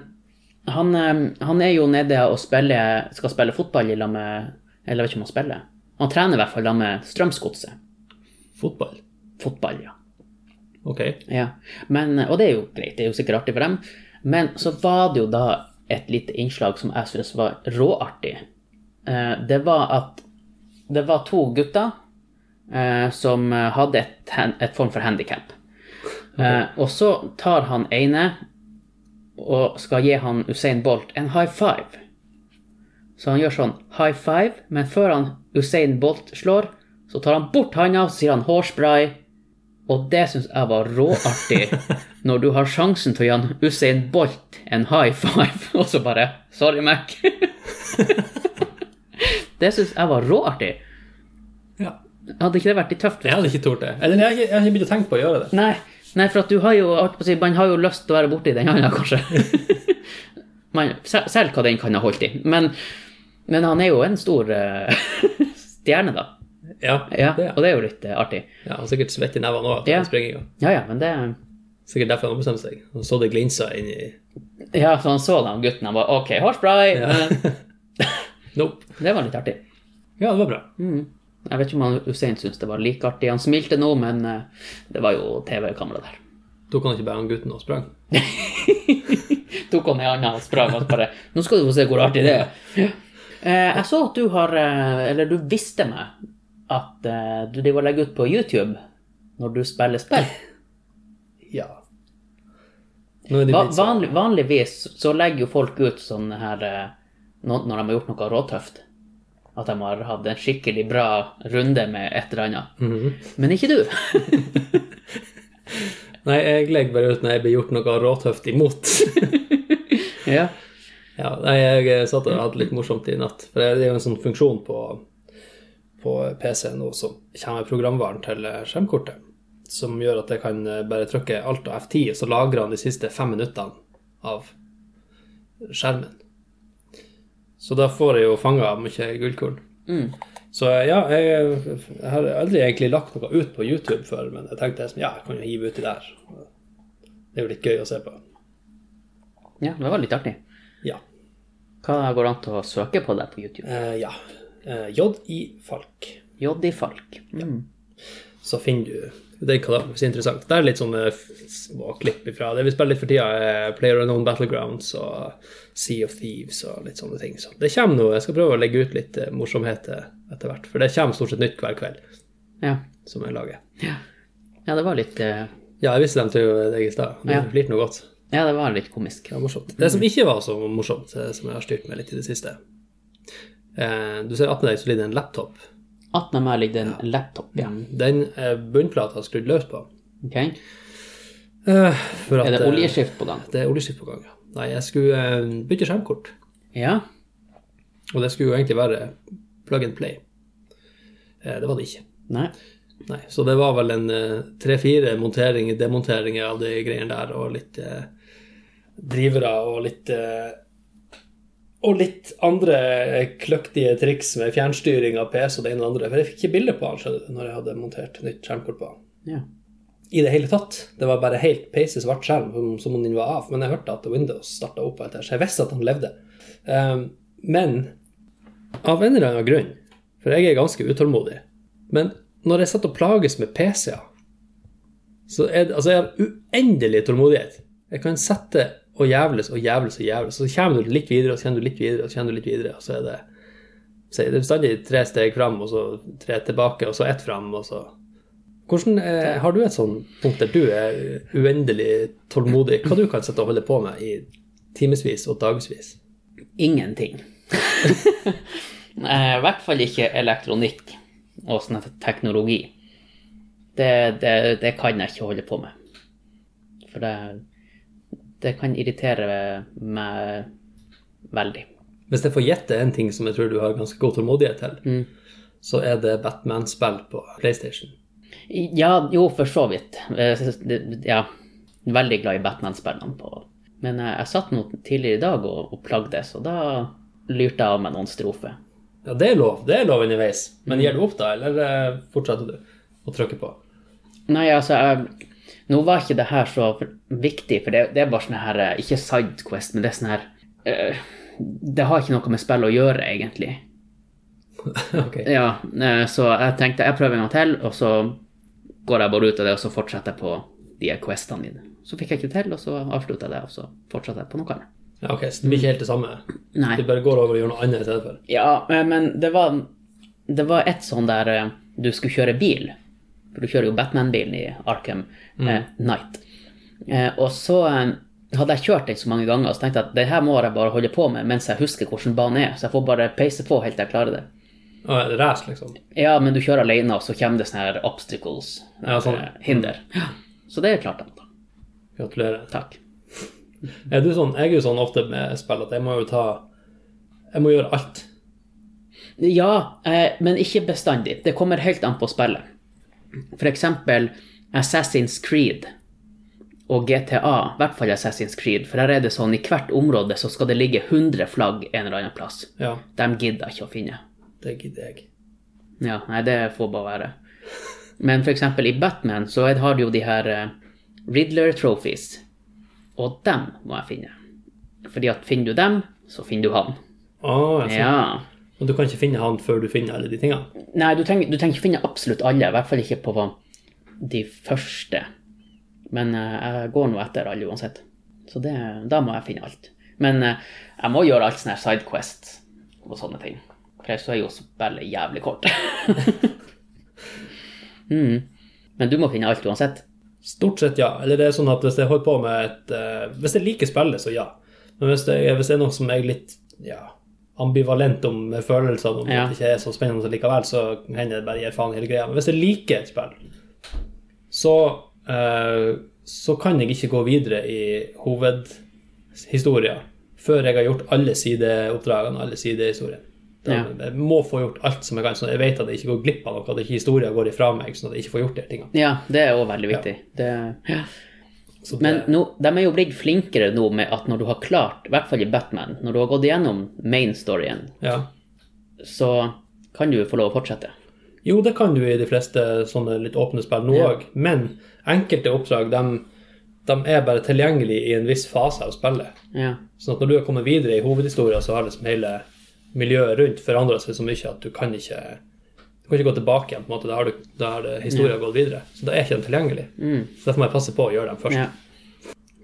S1: han, eh, han er jo nede og spiller, skal spille fotball i lag med Eller jeg vet ikke om han spiller. Han trener i hvert fall i lag med Strømsgodset.
S2: Fotball?
S1: Fotball, ja.
S2: Ok.
S1: Ja, men, og det er jo greit, det er jo sikkert artig for dem. Men så var det jo da et lite innslag som jeg syntes var råartig. Eh, Det var at det var to gutter eh, som hadde et, hen- et form for handikap. Og så tar han ene og skal gi han Usain Bolt en high five. Så han gjør sånn high five, men før han Usain Bolt slår, så tar han bort handa og sier han hårspray. Og det syns jeg var
S2: <laughs>
S1: råartig, når du har sjansen til å gi han Usain Bolt en high five, <laughs> og så bare Sorry, Mac. <laughs> det syns jeg var råartig.
S2: Ja.
S1: Hadde ikke det vært litt tøft?
S2: Jeg hadde ikke tort det. Eller jeg har ikke- jeg har ikke begynt å tenke på å gjøre det.
S1: Nei, nei, for at du har jo holdt på å si, Man har jo lyst til å være borti den handa, kanskje. <laughs> man, se- selv hva den kan ha holdt i. Men, men han er jo en stor eh, <laughs> stjerne, da.
S2: Ja,
S1: Ja,
S2: det er.
S1: Og det er jo litt eh, artig.
S2: ja Han er sikkert svett i nevene òg etter
S1: Ja.
S2: den springinga.
S1: Ja, ja, men det
S2: Sikkert derfor han bestemte seg. Han så det glinsa inn i
S1: Ja, så han så den gutten, han bare OK, hårspray. Men
S2: <laughs> Nope.
S1: det var litt artig.
S2: Ja, det var bra.
S1: Jeg vet ikke om han Usain syntes det var like artig. Han smilte nå, men eh, det var jo TV-kamera der.
S2: Tok han ikke bare han gutten og sprang?
S1: Tok han i handa og sprang og bare Nå skal du få se hvor artig det er. Eh, jeg så at du har eh, Eller du visste meg at eh, du driver og legger ut på YouTube når du spiller spill.
S2: Ja. Nå er det
S1: Va
S2: blitt sånn.
S1: vanlig, vanligvis så legger jo folk ut sånne her eh, når, når de har gjort noe råtøft. At de har hatt en skikkelig bra runde med et eller annet.
S2: Mhm.
S1: Men ikke du.
S2: Nei, jeg legger bare ut når jeg blir gjort noe råtøft imot.
S1: ja.
S2: ja, nei, jeg satt og hadde litt morsomt i natt. For det er jo en sånn funksjon på, på PC nå som kommer programvaren til skjermkortet. Som gjør at jeg kan bare trykke alt og F10, og så lagrer han de siste fem minuttene av skjermen. Så da får jeg jo fanga mye gullkorn. Så ja, jeg, jeg har aldri egentlig lagt noe ut på YouTube før, men jeg tenkte liksom, ja, jeg kan jo hive uti der. Det er jo litt gøy å se på.
S1: ja, det var litt artig.
S2: Ja.
S1: Hva går det an til å søke på deg på YouTube?
S2: Eh, ja. Eh, J.I. Falk.
S1: Joddi Falk. Mm.
S2: Så finner du Det kan da være interessant. Det er litt sånne f- små klipp ifra det vi spiller litt for tida. er Player Unknown Battlegrounds og Sea of Thieves og litt sånne ting. Så det kommer nå. Jeg skal prøve å legge ut litt eh, morsomheter etter hvert. For det kommer stort sett nytt hver kveld
S1: Ja.
S2: som jeg lager.
S1: Ja. Ja, det var litt eh,
S2: Ja, jeg viste dem til deg i stad. Det
S1: Ja.
S2: flirte noe godt.
S1: Ja, det var litt komisk.
S2: Det var morsomt. Det som ikke var så morsomt, eh, som jeg har styrt med litt i det siste eh, Du ser attmed deg så ligger det en laptop.
S1: Attmed meg ligger det en laptop, ja.
S2: Den eh, bunnplata er skrudd løs på.
S1: Ok?
S2: Eh, for at,
S1: Er det
S2: eh,
S1: oljeskift på den?
S2: Det er oljeskift på gang, ja. Nei, jeg skulle eh, bytte skjermkort.
S1: Ja.
S2: Og det skulle jo egentlig være plug and play. Eh, det var det ikke.
S1: Nei.
S2: Nei, så det var vel en øh, tre-fire monteringer, demonteringer av de greiene der, og litt eh, drivere og litt eh, Og litt andre eh, kløktige triks med fjernstyring av PC og det ene og det andre. For jeg fikk ikke bilde på han, skjønner du, når jeg hadde montert nytt skjermkort på han.
S1: Ja.
S2: I det hele tatt. Det var bare helt peise svart skjerm som- som om den var av. Men jeg hørte at Windows starta opp etter, så jeg visste at han levde. Ehm, men av en eller annen grunn, for jeg er ganske utålmodig, men når jeg satt og plages med PC-er, så er det, altså jeg har uendelig tålmodighet. Jeg kan sette og jævles og jævles og jævles, og så kommer du litt videre, og så kommer du litt videre, og så kommer du litt videre, og så er det, så er det bestandig tre steg fram, og så tre tilbake, og så ett fram, og så... Hvordan eh, har du et sånn punkt der du er uendelig tålmodig? Hva du kan sette og holde på med i timesvis og dagsvis?
S1: <laughs> Ingenting. Eh, I hvert fall ikke elektronikk og sånn her teknologi. Det, det, det kan jeg ikke holde på med. For det, det kan irritere meg veldig.
S2: Hvis jeg får gjette en ting som jeg tror du har ganske god tålmodighet til, så er det Batman-spill på PlayStation.
S1: Ja, jo, for så vidt. Jeg synes det- Ja, veldig glad i Batman-spillene. på. Men eh, jeg, jeg satt nå tidligere i dag og, og plagdes, og da lurte jeg av meg noen strofer.
S2: Ja, det er lov. Det er lov underveis. Men gir du opp da, eller eh, fortsetter du å trykke på?
S1: Nei, altså, jeg, nå var ikke det her så viktig, for det, det er bare sånn her eh, Ikke sidequest, men det er sånn her eh, Det har ikke noe med spill å gjøre, egentlig.
S2: ok.
S1: Ja, eh, så jeg tenkte jeg prøver en gang til, og så går jeg bare ut av det, og så fortsetter jeg på de her questene mine. Så fikk jeg ikke til, og så avslutta jeg det, og så fortsatte jeg på noe annet.
S2: Ja, ok, Så det blir ikke helt det samme?
S1: Nei.
S2: Du bare går over og gjør noe annet i stedet for?
S1: Ja, eh, men det var Det var et sånn der eh, du skulle kjøre bil. For du kjører jo Batman-bilen i Arkham
S2: Mm.
S1: eh, Knight. Eh, og så eh, hadde jeg kjørt den så mange ganger og så tenkte jeg at det her må jeg bare holde på med mens jeg husker hvordan banen er. Så jeg får bare peise på helt til jeg klarer det.
S2: Å, er det Race, liksom?
S1: Ja, men du kjører alene, og så kommer det sånne her obstacles.
S2: Ja, sånn.
S1: eh, Hinder. Ja. Så det klarte jeg. da.
S2: Gratulerer.
S1: Takk.
S2: Er du sånn, jeg er jo sånn ofte med spill at jeg må jo ta Jeg må gjøre alt.
S1: Ja, eh, men ikke bestandig. Det kommer helt an på spillet. For eksempel Assassin's Creed og GTA, i hvert fall Assassin's Creed, for her er det sånn i hvert område så skal det ligge 100 flagg en eller annen plass.
S2: Ja,
S1: De gidder ikke å finne.
S2: det gidder jeg.
S1: Ja, nei, det får bare være. Men for eksempel i Batman så er- har du jo de her eh, Riddler trophies, og dem må jeg finne. Fordi at finner du dem, så finner du han.
S2: Å, jeg ser.
S1: Ja.
S2: Og du kan ikke finne han før du finner alle de tingene?
S1: Nei, du trenger, du trenger ikke finne absolutt alle, i hvert fall ikke på de første. Men eh, jeg går nå etter alle uansett. Så det, da må jeg finne alt. Men eh, jeg må gjøre alt sånn her sidequest og sånne ting. For ellers så er jo spillet jævlig <laughs> kort. mm. Men du må finne alt uansett.
S2: Stort sett ja. Eller det er sånn at hvis jeg holder på med et eh, Hvis jeg liker spillet, så ja. Men hvis det, er- hvis det er noe som jeg er litt ja, ambivalent om med følelsene, om
S1: Ja.
S2: at det ikke er så spennende likevel, så hender det bare gir faen i hele greia. Men hvis jeg liker et spill, så eh, så kan jeg ikke gå videre i hovedhistoria før jeg har gjort alle sideoppdragene, alle sidehistoriene. Da-
S1: Ja.
S2: Jeg må få gjort alt som jeg kan, så jeg vet at jeg ikke går glipp av noe, at ikke historien går ifra meg, sånn at jeg ikke får gjort de tingene.
S1: Ja, det er òg veldig viktig. Det, ja.
S2: Så det-
S1: Men nå, de er jo blitt flinkere nå med at når du har klart, i hvert fall i Batman, når du har gått gjennom main storyen,
S2: Ja.
S1: så kan du få lov å fortsette.
S2: Jo, det kan du i de fleste sånne litt åpne spill nå
S1: Ja.
S2: òg, men enkelte oppdrag de, de er bare tilgjengelige i en viss fase av spillet.
S1: Ja.
S2: Sånn at når du er kommet videre i hovedhistorien, så har liksom hele miljøet rundt forandra seg så mye at du kan ikke du kan ikke gå tilbake igjen. på en måte, Da har, du, da har det- historien gått videre. Så da er ikke de tilgjengelige. Så Derfor må jeg passe på å gjøre dem først.
S1: Mm. ja.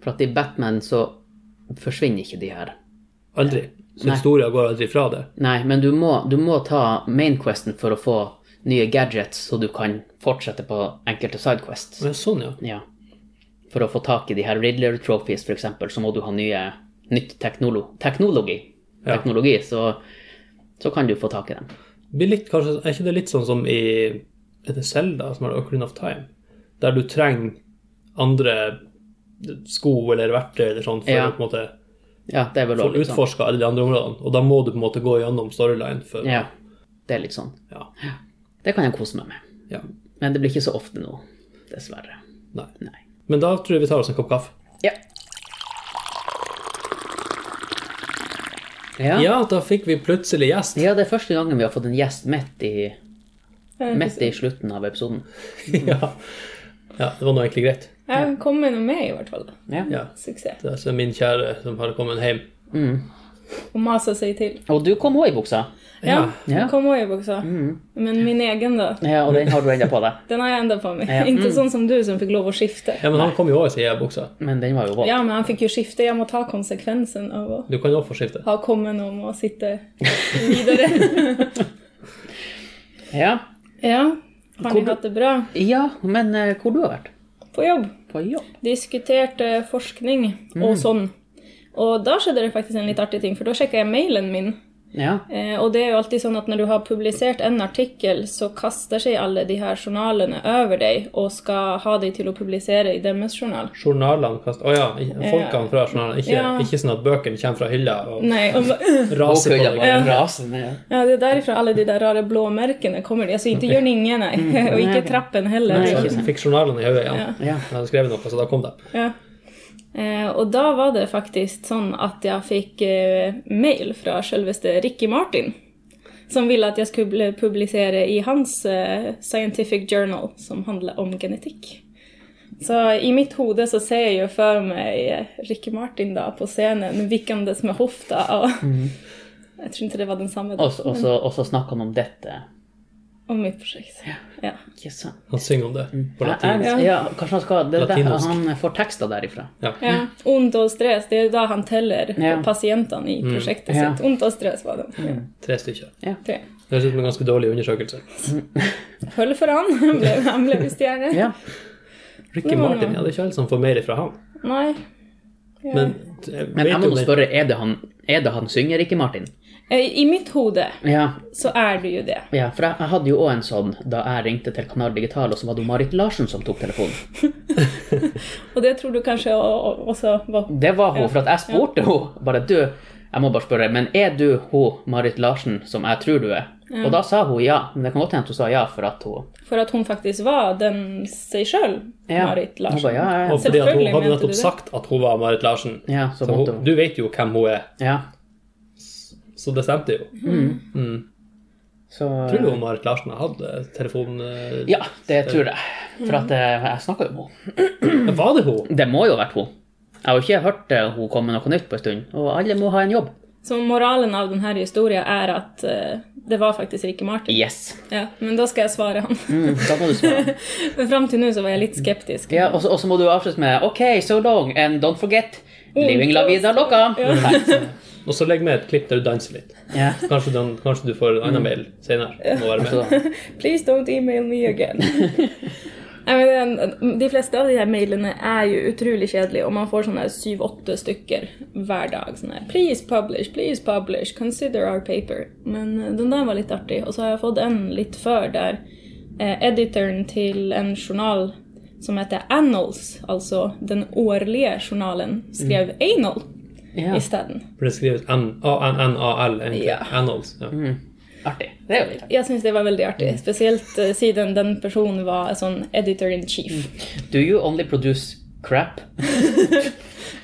S1: For at i Batman så forsvinner ikke de her.
S2: Aldri. Så
S1: Nei.
S2: historien går aldri fra det.
S1: Nei, men du må, du må ta mainquesten for å få nye gadgets, så du kan fortsette på enkelte sidequests.
S2: Men Sånn, ja.
S1: Ja. For å få tak i de her Riddler trophies, for eksempel, så må du ha nye, nytt teknolo teknologi.
S2: Ja.
S1: teknologi så, så kan du få tak i dem.
S2: Blir litt, kanskje, er ikke det litt sånn som i Er det Zelda som har Ocarina of Time? Der du trenger andre sko eller verktøy eller sånn for
S1: Ja.
S2: å på en måte
S1: Ja, det er vel
S2: få
S1: også litt sånn.
S2: utforska alle de andre områdene. Og da må du på en måte gå gjennom storyline for
S1: Ja, det er litt sånn.
S2: Ja.
S1: Det kan jeg kose meg med.
S2: ja.
S1: Men det blir ikke så ofte nå, dessverre.
S2: Nei.
S1: Nei.
S2: Men da tror jeg vi tar oss en kopp kaffe.
S1: Ja. Ja.
S2: Ja,
S1: ja.
S2: da fikk vi plutselig
S1: <laughs>
S2: gjest.
S1: det er første gangen vi har fått en gjest midt i, midt i slutten av episoden.
S2: ja. ja, det var nå egentlig greit.
S3: Jeg kom med noe med, i hvert fall.
S1: Ja.
S2: Ja.
S3: Suksess.
S2: Det er altså min kjære som har kommet hjem.
S3: Og masa seg til.
S1: Og du kom òg i buksa.
S3: Ja,
S1: Ja. Mm.
S3: den kom òg i buksa. Men min egen, da.
S1: Ja, og den har du enda på deg.
S3: Den har jeg enda på meg.
S1: Ja.
S3: <laughs>
S1: Mm.
S3: Ikke sånn som du, som fikk lov å skifte.
S2: Ja, men han kom jo òg i sidebuksa.
S1: Men den var jo våt.
S3: Ja, men han fikk jo skifte. Jeg må ta konsekvensen av å
S2: Du kan jo få skifte.
S3: ha kommet om og sitte videre.
S1: <laughs> Ja.
S3: ja. Har
S1: Kom
S3: ni
S1: du-
S3: hatt det bra
S1: ja, men eh, hvor du har vært?
S3: på jobb?
S1: På jobb.
S3: Diskuterte forskning
S1: Mm.
S3: og sånn. Og da skjedde det faktisk en litt artig ting, for da sjekka jeg mailen min.
S1: Ja.
S3: Eh, og det er jo alltid sånn at når du har publisert en artikkel, så kaster seg alle de her journalene over deg og skal ha deg til å publisere i deres journal.
S2: Journalene kast... Å ja, i- folkene fra journalene. Ikke,
S3: Ja. Mm.
S2: ikke sånn at bøkene kommer fra hylla og
S3: Nei, og,
S2: raser på deg.
S1: Ja. Rasende, ja.
S3: <laughs> ja, det er derifra alle de der rare blåmerkene kommer. Altså ikke Jørninge, nei. <laughs> Og ikke trappen heller. sånn.
S1: Nei,
S2: Så jeg fikk journalene i hodet igjen.
S1: Ja.
S2: Jeg hadde skrevet noe, så da kom det.
S3: Ja. Eh, og da var det faktisk sånn at jeg fikk eh, mail fra selveste Ricky Martin, som ville at jeg skulle publisere i hans eh, scientific journal, som handler om genetikk. Så i mitt hode så ser jeg jo for meg eh, Ricky Martin da på scenen vikkandes med hofta. Og <laughs> Jeg tror ikke det var den samme, da,
S1: Og så- og så og så snakker han om dette.
S3: om mitt prosjekt. Ja.
S1: Ikke sant?
S2: Han synger om det på
S1: Mm. Ja,
S2: latin.
S1: jeg- ja, kanskje han skal det, er der-
S2: Latinsk.
S1: Han får tekster derifra.
S2: Ja.
S3: Ja. Ondt og stress, det er da han teller
S1: Ja.
S3: på pasientene i prosjektet
S1: Ja.
S3: sitt. Ondt og stress var det. Ja.
S2: Tre stykker.
S3: Tre.
S2: Det høres ut som en ganske dårlig undersøkelse.
S3: Følg for han. <laughs> Han ble, han ble visst gjerne.
S1: Ja.
S2: Ricky
S3: Det var
S2: Martin,
S3: noe.
S2: ja, det er ikke alle som får mer ifra han.
S3: Nei. Ja.
S2: Men, jeg
S1: Men
S2: vet
S1: jeg
S2: jo
S1: må nå
S2: det-
S1: spørre, er det han, er det han synger, ikke Martin?
S3: Eh, I mitt hode
S1: Ja,
S3: så er det jo det.
S1: ja for jeg, jeg hadde jo òg en sånn da jeg ringte til Kanal Digital, og så var det jo Marit Larsen som tok telefonen.
S3: Og det tror du kanskje o- o- også var
S1: Det var hun, for at jeg spurte henne. Bare du, jeg må bare spørre, men er du hun Marit Larsen som jeg tror du er? Og da sa hun ja, men det kan godt hende at hun sa ja for at hun
S3: For at hun faktisk var den seg sjøl,
S1: ja.
S3: Marit
S1: Hun ba,
S3: Larsen.
S1: ja, ja,
S2: Og fordi at hun
S3: Selvfølgelig
S2: hadde
S3: mente du
S2: nettopp
S3: det.
S2: sagt at hun var Marit Larsen.
S1: ja. ja, så
S2: Så
S1: måtte
S2: hun,
S1: hun.
S2: du vet jo hvem hun er,
S1: Ja,
S2: så det stemte jo.
S1: så
S2: Tror du hun Marit Larsen har hatt eh, telefon... eh,
S1: Ja, det tror jeg. For at eh, jeg snakka jo med henne.
S2: Var det hun?
S1: Det må jo ha vært hun. Jeg har jo ikke hørt eh, hun komme med noe nytt på en stund. Og alle må ha en jobb.
S3: Så moralen av denne historien er at eh, det var faktisk Ricky Martin.
S1: Yes.
S3: Ja, men da skal jeg svare han.
S1: Mm, da må du svare.
S3: <laughs> Men fram til nå så var jeg litt skeptisk.
S1: Ja, og så- og så må du avslutte med OK, so long, and don't forget living la vida loca. Nei.
S2: Og så legg med et klipp der du danser litt.
S1: Ja.
S2: <laughs> Kanskje du, kanskje du får en annen mail senere. Må være med.
S1: Så,
S3: Please don't email me again. Nei, men, den- de fleste av de her mailene er jo utrolig kjedelige, og man får sånne syv-åtte stykker hver dag. Sånn her, please publish, please publish, consider our paper. Men eh, den der var litt artig. Og så har jeg fått en litt før der eh, editoren til en journal som heter Annals, altså den årlige journalen, skrev anal
S1: ja.
S3: isteden.
S2: For det skrives N- A-N-N-A-L, egentlig.
S3: Ja.
S2: Annals. altså. Ja.
S1: Artig. Det er jo litt artig.
S3: Jeg syns det var veldig artig, spesielt eh, siden den personen var sånn editor in chief.
S1: Do you only produce crap?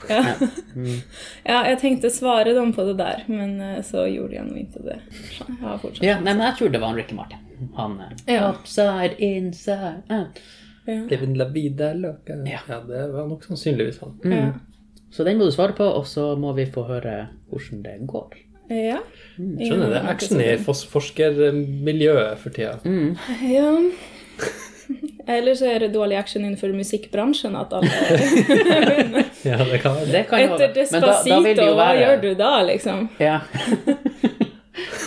S3: Ja.
S1: Mm.
S3: <laughs> ja, jeg tenkte svare dem på det der, men eh, så gjorde jeg nå ikke det. Så Jeg har fortsatt.
S1: Ja, nei, men jeg tror det var han Ricky Martin. Han eh,
S3: Ja.
S1: Upside, inside out.
S2: Living la vida loca.
S1: Ja.
S2: Ja, det var nok sannsynligvis han.
S3: Ja.
S1: Så den må du svare på, og så må vi få høre hvordan det går.
S3: Ja.
S1: Mm,
S2: Skjønner
S3: Mm.
S2: det. Action i fos- forskermiljøet for tida.
S3: Ja. <laughs> Eller så er det dårlig action innenfor musikkbransjen. at
S1: <laughs>
S3: alle...
S2: Ja, det kan være det.
S1: Det kan jo
S3: Etter
S1: være- men da- da vil det
S3: Despacito,
S1: jo
S3: hva
S1: være-
S3: gjør du da, liksom? <laughs>
S1: Ja.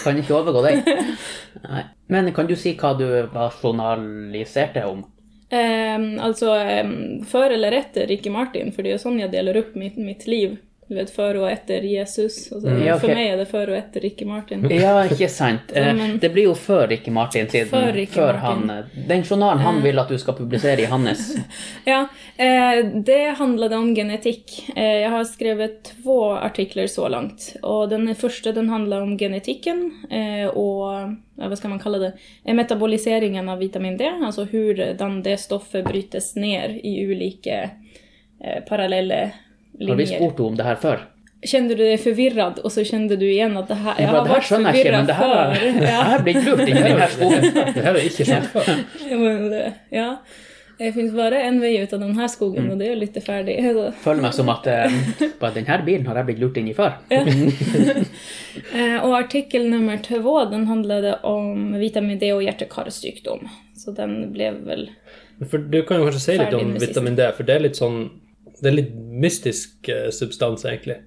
S1: kan ikke overgå deg. Nei. Men kan du si hva du nasjonaliserte om?
S3: Ehm, altså, ehm, før eller etter Ricky Martin, for det er jo sånn jeg deler opp mitt, mitt liv. Du vet, før og etter Jesus. Altså,
S1: Mm. Ja, ok.
S3: For meg er det før og etter Ricky Martin.
S1: <laughs> Ja, ikke sant. Eh,
S3: Ja, men-
S1: Det blir jo før Ricky Martin siden.
S3: Før Ricky
S1: han,
S3: Martin.
S1: eh, den journalen han vil at du skal publisere i hans.
S3: Ja, eh, det handlade om genetikk. Eh, jeg har skrevet to artikler så langt. Og den første den handler om genetikken eh, og ja, hva skal man kalle det, Eh, metaboliseringen av vitamin D. Altså hvordan det stoffet brytes ned i ulike eh, parallelle
S1: Har vi
S3: linjer.
S1: spurt henne om det her før?
S3: Kjente du deg forvirret, og så kjente du igjen at det her, jeg
S1: Bare,
S3: har
S1: det her
S3: vært
S1: skjønner jeg ikke, men
S3: forvirret
S1: det her, <laughs>
S3: før.
S1: er- det
S3: Ja.
S1: her blir ikke lurt inni denne skogen.
S2: Det her er ikke sant før.
S3: Ja, men det- Ja. Det finnes bare en vei ut av denne skogen,
S1: Mm.
S3: og det er jo litt ferdig.
S1: <laughs>
S3: så.
S1: Føler meg som at eh, bare den her bilen har jeg blitt lurt inn i før.
S3: Eh, Og artikkel nummer två, den handlede om vitamin D og hjerte-karsykdom. Så den ble vel
S2: For du kan jo kanskje si litt
S3: Ferdig
S2: om
S3: med siste.
S2: vitamin D, for det er litt sånn Det er litt mystisk eh, substans, egentlig.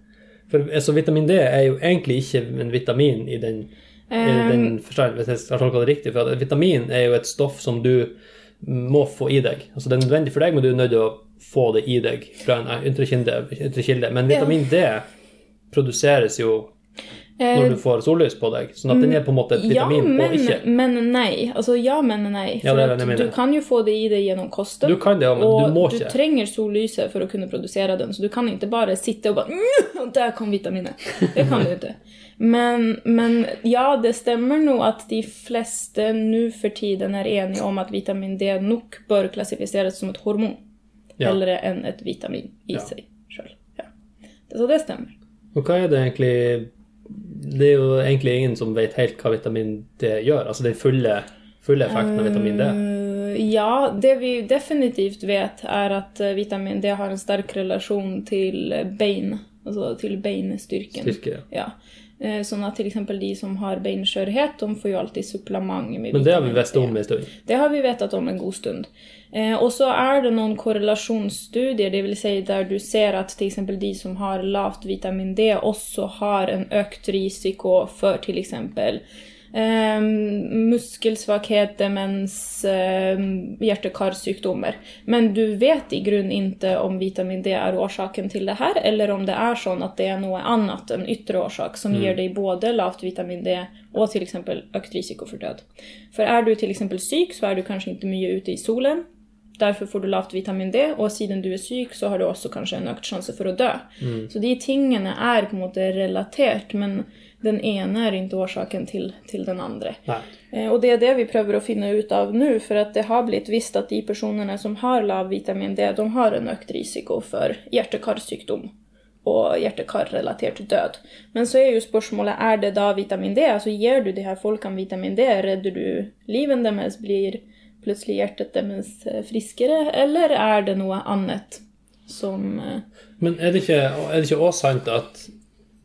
S2: For altså, vitamin D er jo egentlig ikke en vitamin i den, i den
S3: Ehm.
S2: forstand, hvis jeg har tolka det riktig. For at vitamin er jo et stoff som du må få i deg. Altså det er nødvendig for deg, men du er nødt til å få det i deg fra en ytre kilde. Ytre kilde. Men vitamin D produseres jo
S3: eh,
S2: når du får sollys på deg, sånn at den er på en måte et
S3: ja,
S2: vitamin
S3: men,
S2: og ikke
S3: men nei. Altså ja, men nei.
S2: Ja,
S3: For
S2: det er det jeg
S3: at
S2: mener.
S3: du kan jo få det i deg gjennom kosten.
S2: Du kan det, ja, men
S3: og
S2: du må ikke.
S3: trenger sollyset for å kunne produsere den, så du kan ikke bare sitte og bare «Mm, Der kom vitaminet. Det kan du
S2: <laughs>
S3: ikke. Men, men ja, det stemmer nå at de fleste nå for tiden er enige om at vitamin D nok bør klassifiseres som et hormon.
S2: Ja.
S3: Heller enn et vitamin i
S2: Ja.
S3: seg sjøl. Ja. Så det stemmer.
S2: Og hva er det egentlig Det er jo egentlig ingen som vet helt hva vitamin D gjør. Altså den fulle, fulle effekten av vitamin D.
S3: Eh, Ja, det vi definitivt vet er at eh, vitamin D har en sterk relasjon til eh, bein, altså til beinstyrken.
S2: Styrke.
S3: Ja. Eh, Sånn at til eksempel de som har beinskjørhet, de får jo alltid supplement med
S2: Men det har vi
S3: vitamin
S2: visst om
S3: D.
S2: en stund.
S3: Det har vi vetat om en god stund. Eh, og så er det noen korrelasjonsstudier, det vil si der du ser at til eksempel de som har lavt vitamin D, også har en økt risiko for til eksempel eh, muskelsvakhet, demens, eh, hjerte-karsykdommer. Men du vet i grunn ikke om vitamin D er årsaken til det her, eller om det er sånn at det er noe annet, en ytre årsak, som gir deg både lavt vitamin D og til eksempel økt risiko for død. For er du til eksempel syk, så er du kanskje ikke mye ute i solen. Derfor får du lavt vitamin D, og siden du er syk, så har du også kanskje en økt sjanse for å dø. Så de tingene er på en måte relatert, men den ene er ikke årsaken til, til den andre.
S2: Nei.
S3: Eh, Og det er det vi prøver å finne ut av nå, for at det har blitt visst at de personene som har lav vitamin D, de har en økt risiko for hjerte-karsykdom og hjerte-kar-relatert død. Men så er jo spørsmålet er det da vitamin D? Altså gir du de her folkene vitamin D, redder du livet deres, blir plutselig hjertet deres eh, friskere, eller er det noe annet som eh,
S2: Men er det ikke, er det ikke også sant at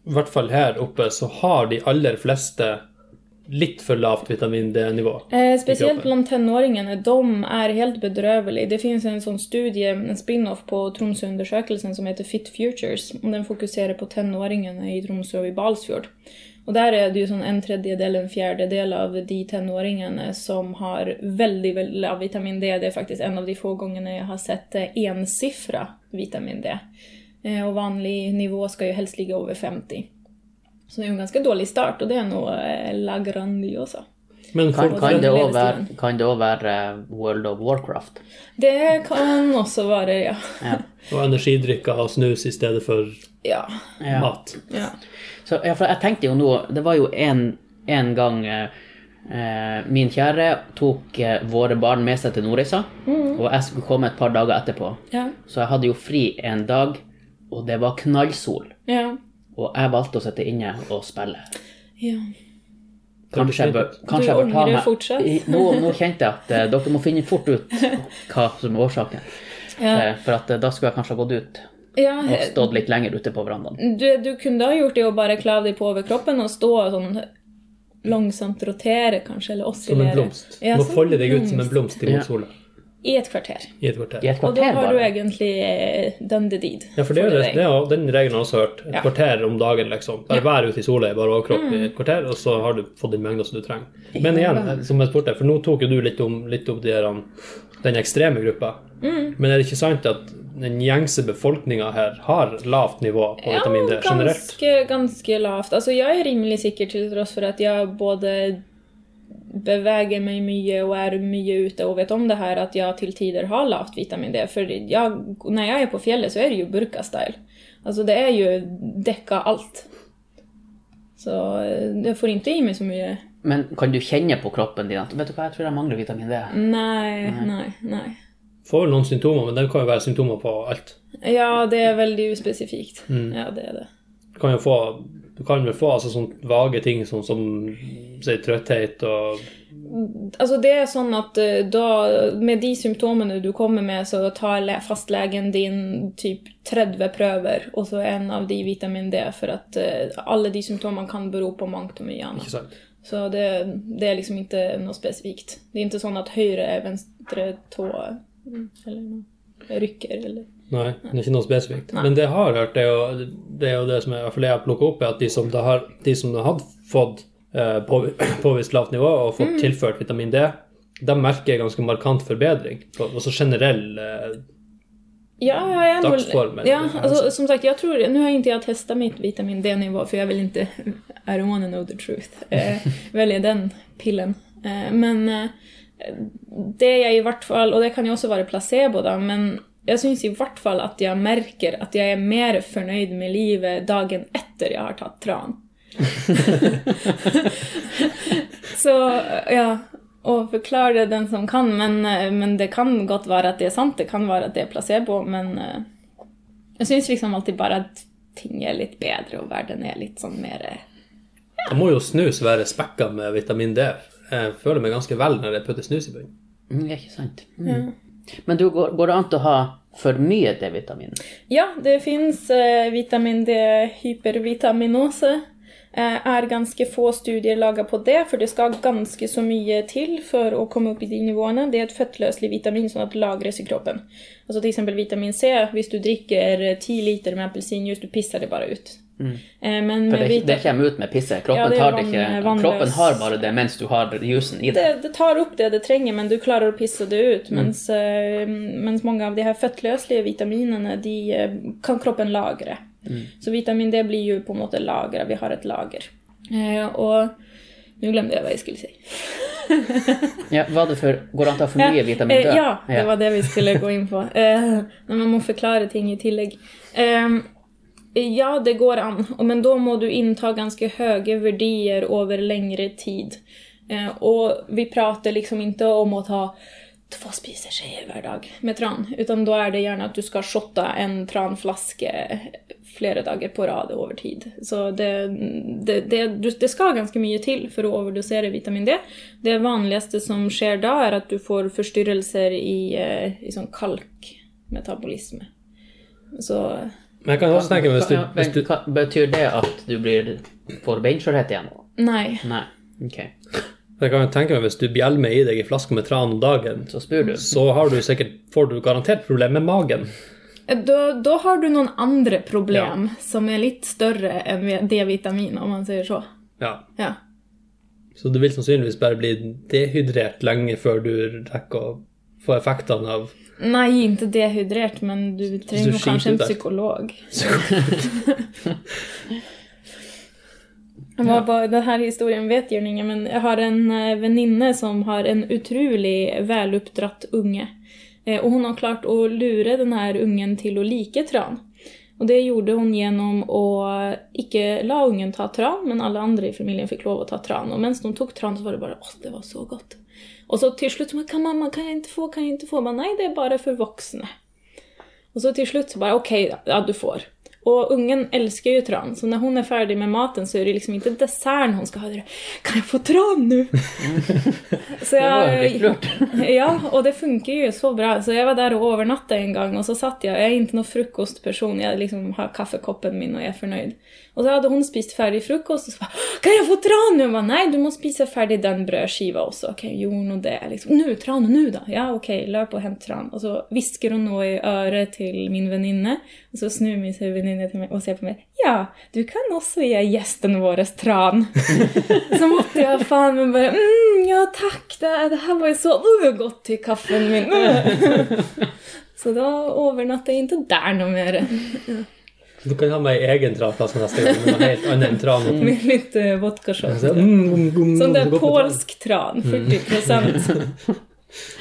S2: i hvert fall her oppe så har de aller fleste litt for lavt vitamin D-nivå?
S3: Eh, spesielt
S2: kroppen.
S3: blant tenåringene. De er helt bedrøvelige. Det finnes en sånn studie, en spin-off på Tromsø-undersøkelsen som heter Fit Futures. og Den fokuserer på tenåringene i Tromsø og i Balsfjord. Og der er det jo sånn en tredjedel, en fjerdedel av de tenåringene som har veldig veldig lav vitamin D. Det er faktisk en av de få gangene jeg har sett eh, ensifra vitamin D. Eh, og vanlig nivå skal jo helst ligge over 50. Så det er jo en ganske dårlig start, og det er noe eh, La Grandiosa.
S2: Men
S1: Kan,
S2: folk,
S1: kan det òg
S3: Levestilen.
S1: være, kan det også være eh, World of Warcraft?
S3: Det kan også være, ja.
S1: Ja.
S2: og energidrikker og snus i stedet for
S3: Ja.
S1: Ja.
S2: mat.
S3: ja.
S1: Så, ja, for jeg tenkte jo nå Det var jo en, en gang eh, eh, min kjære tok eh, våre barn med seg til Nordreisa, og jeg skulle komme et par dager etterpå.
S3: ja.
S1: Så jeg hadde jo fri en dag, og det var knallsol.
S3: ja.
S1: Og jeg valgte å sitte inne og spille.
S3: ja.
S1: Kanskje jeg bør, kanskje
S3: Du
S1: jeg bør ta
S3: angrer
S1: meg
S3: fortsatt?
S1: I- nå, nå kjente jeg at eh, dere må finne fort ut hva som er årsaken.
S3: ja.
S1: Eh, for at, eh, da skulle jeg kanskje ha gått ut og
S3: ja.
S1: stått litt lenger ute på verandaen.
S3: Du, du kunne ha gjort det å bare klave deg på overkroppen og stå og sånn langsomt rotere, kanskje, eller
S2: Som
S3: oscillere.
S2: en blomst.
S3: Ja,
S2: Må
S3: som en
S2: folde deg ut som en
S3: blomst.
S2: blomst
S1: Ja.
S2: imot sola.
S3: I et kvarter.
S2: i et kvarter.
S1: I et
S3: Og da
S1: kvarter,
S3: har du
S1: bare.
S3: egentlig eh, done the deed.
S2: Ja, for det er jo
S3: for
S2: det,
S3: deg.
S2: det er jo den regelen jeg også har hørt. Et
S3: Ja.
S2: kvarter om dagen, liksom. Bare vær ute i sola i bare overkropp i et kvarter, og så har du fått den mengden som du trenger. Men igjen, som jeg spurte, for nå tok jo du litt om, litt om de her, um, den ekstreme gruppa. Men er det ikke sant at den gjengse befolkninga her har lavt nivå på vitamin D generelt?
S3: ganske, ganske lavt. Altså, jeg er rimelig sikker til tross for at jeg både beveger meg mye og er mye ute og vet om det her, at jeg til tider har lavt vitamin D. For jeg, når jeg er på fjellet, så er det jo burka-style. Altså, det er jo dekka alt. Så eh, jeg får ikke i meg så mye.
S1: Men kan du kjenne på kroppen din at Vet du hva, jeg tror jeg mangler vitamin D.
S3: Nei, nei, nei.
S2: Får vel noen symptomer, men det kan jo være symptomer på alt.
S3: Ja, det er veldig uspesifikt. Ja, det er det.
S2: Du kan jo få, du kan vel få altså, sånne vage ting sånn som si, trøtthet og
S3: Alltså det är sånn at eh, da, med de symptomene du kommer med, så tar lä- fastlegen din typ 30 prøver, og så en av de vitamin D, for at eh, alle de symptomene kan bero på mangt og mye annet.
S2: Ikke sant?
S3: Så det, det er liksom ikke noe spesifikt. Det er ikke sånn at høyre er venstre tå mm, eller noe rykker, eller
S2: Nei, det er ikke noe spesifikt. Men det jeg har hørt, det er jo det, er jo det som jeg, i hvert fall jeg har plukket opp, er at de som da har, de som da hadde fått eh, påvi- <clears throat> påvist lavt nivå
S1: Mm.
S2: og fått tilført vitamin D, de merker ganske markant forbedring. på- Også generell eh,
S3: Ja, jeg er ändå-
S2: Dagsform, eller
S3: Ja,
S2: hva det
S3: alltså, som sagt, jag tror, nu har inte jag testat mitt vitamin D-nivå för jag vill inte, I don't wanna know the truth, eh, välja den pillen. Eh, men eh, det är i vart fall, och det kan ju också vara placebo då, men jag syns i vart fall att jag märker att jag är mer förnöjd med livet dagen efter jag har tagit tran. Så ja, og forklar det den som kan, men, eh, men det kan godt være at det er sant, det kan være at det er placebo, men eh, jeg syns liksom alltid bare at ting er litt bedre, og verden er litt sånn mer eh,
S2: Det må jo snus være spekka med vitamin D. Jeg føler meg ganske vel når jeg putter snus i bunnen.
S1: Mm, det er ikke sant. Mm. Men du, går, går det an til å ha for mye D-vitamin?
S3: Ja, det fins vitamin D, hypervitaminose. Eh, er ganske få studier laga på det, for det skal ganske så mye til for å komme opp i de nivåene. Det er et fettløselig vitamin som at det lagres i kroppen. Altså til eksempel vitamin C. Hvis du drikker eh, 10 liter med appelsinjuice, du pisser det bare ut. Eh, men
S1: For Mm.
S3: med
S1: det, er ikke- det
S3: vita-
S1: kommer ut med pisset. Kroppen,
S3: Ja, det er
S1: tar det
S3: vann-
S1: ikke,
S3: vannløs.
S1: kroppen har bare det mens du har juicen i det. Mm.
S3: det, det tar opp det det trenger, men du klarer å pisse det ut. Mens, eh, mens mange av de her fettløselige vitaminene de eh, kan kroppen lagre.
S1: Mm.
S3: Så vitamin D blir jo på en måte lagra. Vi har et lager. Eh, og nå glemte jeg hva jeg skulle si.
S1: Ja, var det for, går det an til å ha for mye vitamin D?
S3: Eh, ja, det var det vi skulle gå
S1: <laughs>
S3: inn på. Eh, men man må forklare ting i tillegg. Eh, ja, det går an, og- men da må du innta ganske høye verdier over lengre tid. Eh, og vi prater liksom ikke om å ta två spiseskjeer hver dag med tran, utan da er det gjerne at du skal shotta en tranflaske flere dager på rad over tid. Så det, det, det, du- det skal ganske mye til for å overdosere vitamin D. Det vanligste som skjer da, er at du får forstyrrelser i, eh, i sånn kalkmetabolisme. Så
S2: Men jeg kan også tenke meg hvis du,
S1: Ja,
S2: hvis
S1: men
S2: du
S1: hva- Betyr det at du blir, får beinskjørhet igjen?
S3: nei.
S1: Nei. Ok.
S2: jeg kan jo tenke meg hvis du bjelmer i deg en flaske med tran om dagen,
S1: Så spyr du.
S2: så har du sikkert, får du garantert problemer med magen.
S3: Da, da har du noen andre problem som er litt større enn vi- D-vitamin, om man sier så.
S2: Ja.
S3: Ja.
S2: Så du vil sannsynligvis bare bli dehydrert lenge før du rekker å få effektene av
S3: Nei, ikke dehydrert, men du
S2: du
S3: trenger kanskje
S2: skiter
S3: en
S2: deg.
S3: psykolog. <laughs> Jeg var på, den her historien vet jeg ikke, men jeg har en eh, venninne som har en utrolig veloppdratt unge. Eh, Og hun har klart å lure den her ungen til å like tran. Og det gjorde hun gjennom å ikke la ungen ta tran, men alle andre i familien fikk lov å ta tran. Og mens de tok tran, så var det bare åh, det var så godt. Og så til slutt så bare, kan mamma, kan jeg ikke få, kan jeg ikke få? Men nei, det er bare for voksne. Og så til slutt så bare OK, da, ja, du får. Och ungen älskar ju tran, så när hon är färdig med maten så är det liksom inte desserten hon ska ha. det är, Kan jag få tran nu? så
S1: var väldigt flört.
S3: <laughs> ja, och det funkar ju så bra. Så jag var där och övernattade en gång och så satt jag, jag är inte någon frukostperson, jag liksom har kaffekoppen min och jag är förnöjd. Och så hade hon spist färdig frukost och så bara “Kan jag få tran nu?” Jag bara, “Nej, du måste spisa färdig den brödskiva också.” Okej, okay, gjorde hon det? Liksom, “Nu, tran nu då?” Ja, okej, löp och hämt tran. Och så viskar hon något i örat till min väninna och så snur min sig väninna till mig och säger på mig “Ja, du kan också ge gästen våres tran” så måtte jag fan men bara mm, ja tack, det, det här var ju så uh, gott till kaffen min. <laughs> så då övernattade jag inte där något mer.
S2: Du kan ha med ei egen tranplass neste gang, men noe helt annet enn tran.
S3: Med mitt uh, vodkashot.
S2: Så, <laughs> mm, gum, gum,
S3: Sånn
S2: gum,
S3: där
S2: gå på tran
S3: polsk tran, 40 procent.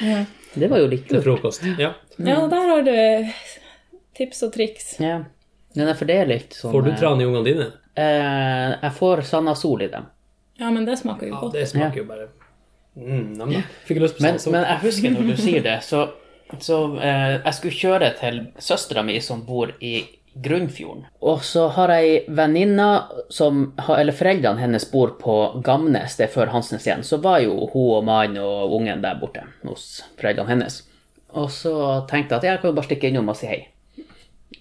S3: ja.
S1: Det var jo litt
S2: Til
S1: lurt.
S2: frokost. Ja.
S3: ja, där har du tips och tricks.
S1: Ja. Men nei, for det er litt sånn
S2: Får du
S1: eh,
S2: tran i ungene dine?
S1: Eh, jeg får Sanna Sol i dem.
S3: Ja, men det smakar ju
S2: Ja,
S3: gott.
S2: det smaker jo bare mm, nam, nam. Fikk lyst på
S1: Men,
S2: sånn.
S1: men jeg husker når du sier det, så, så eh, Jeg skulle kjøre til søstera mi som bor i Grunnfjorden. Og så har jeg ei venninne som har Eller foreldrene hennes bor på Gamnes, det er før Hansnes igjen. Så var jo hun og mannen og ungen der borte hos foreldrene hennes. Og så tenkte jeg at jeg kan jo bare stikke innom og si hei.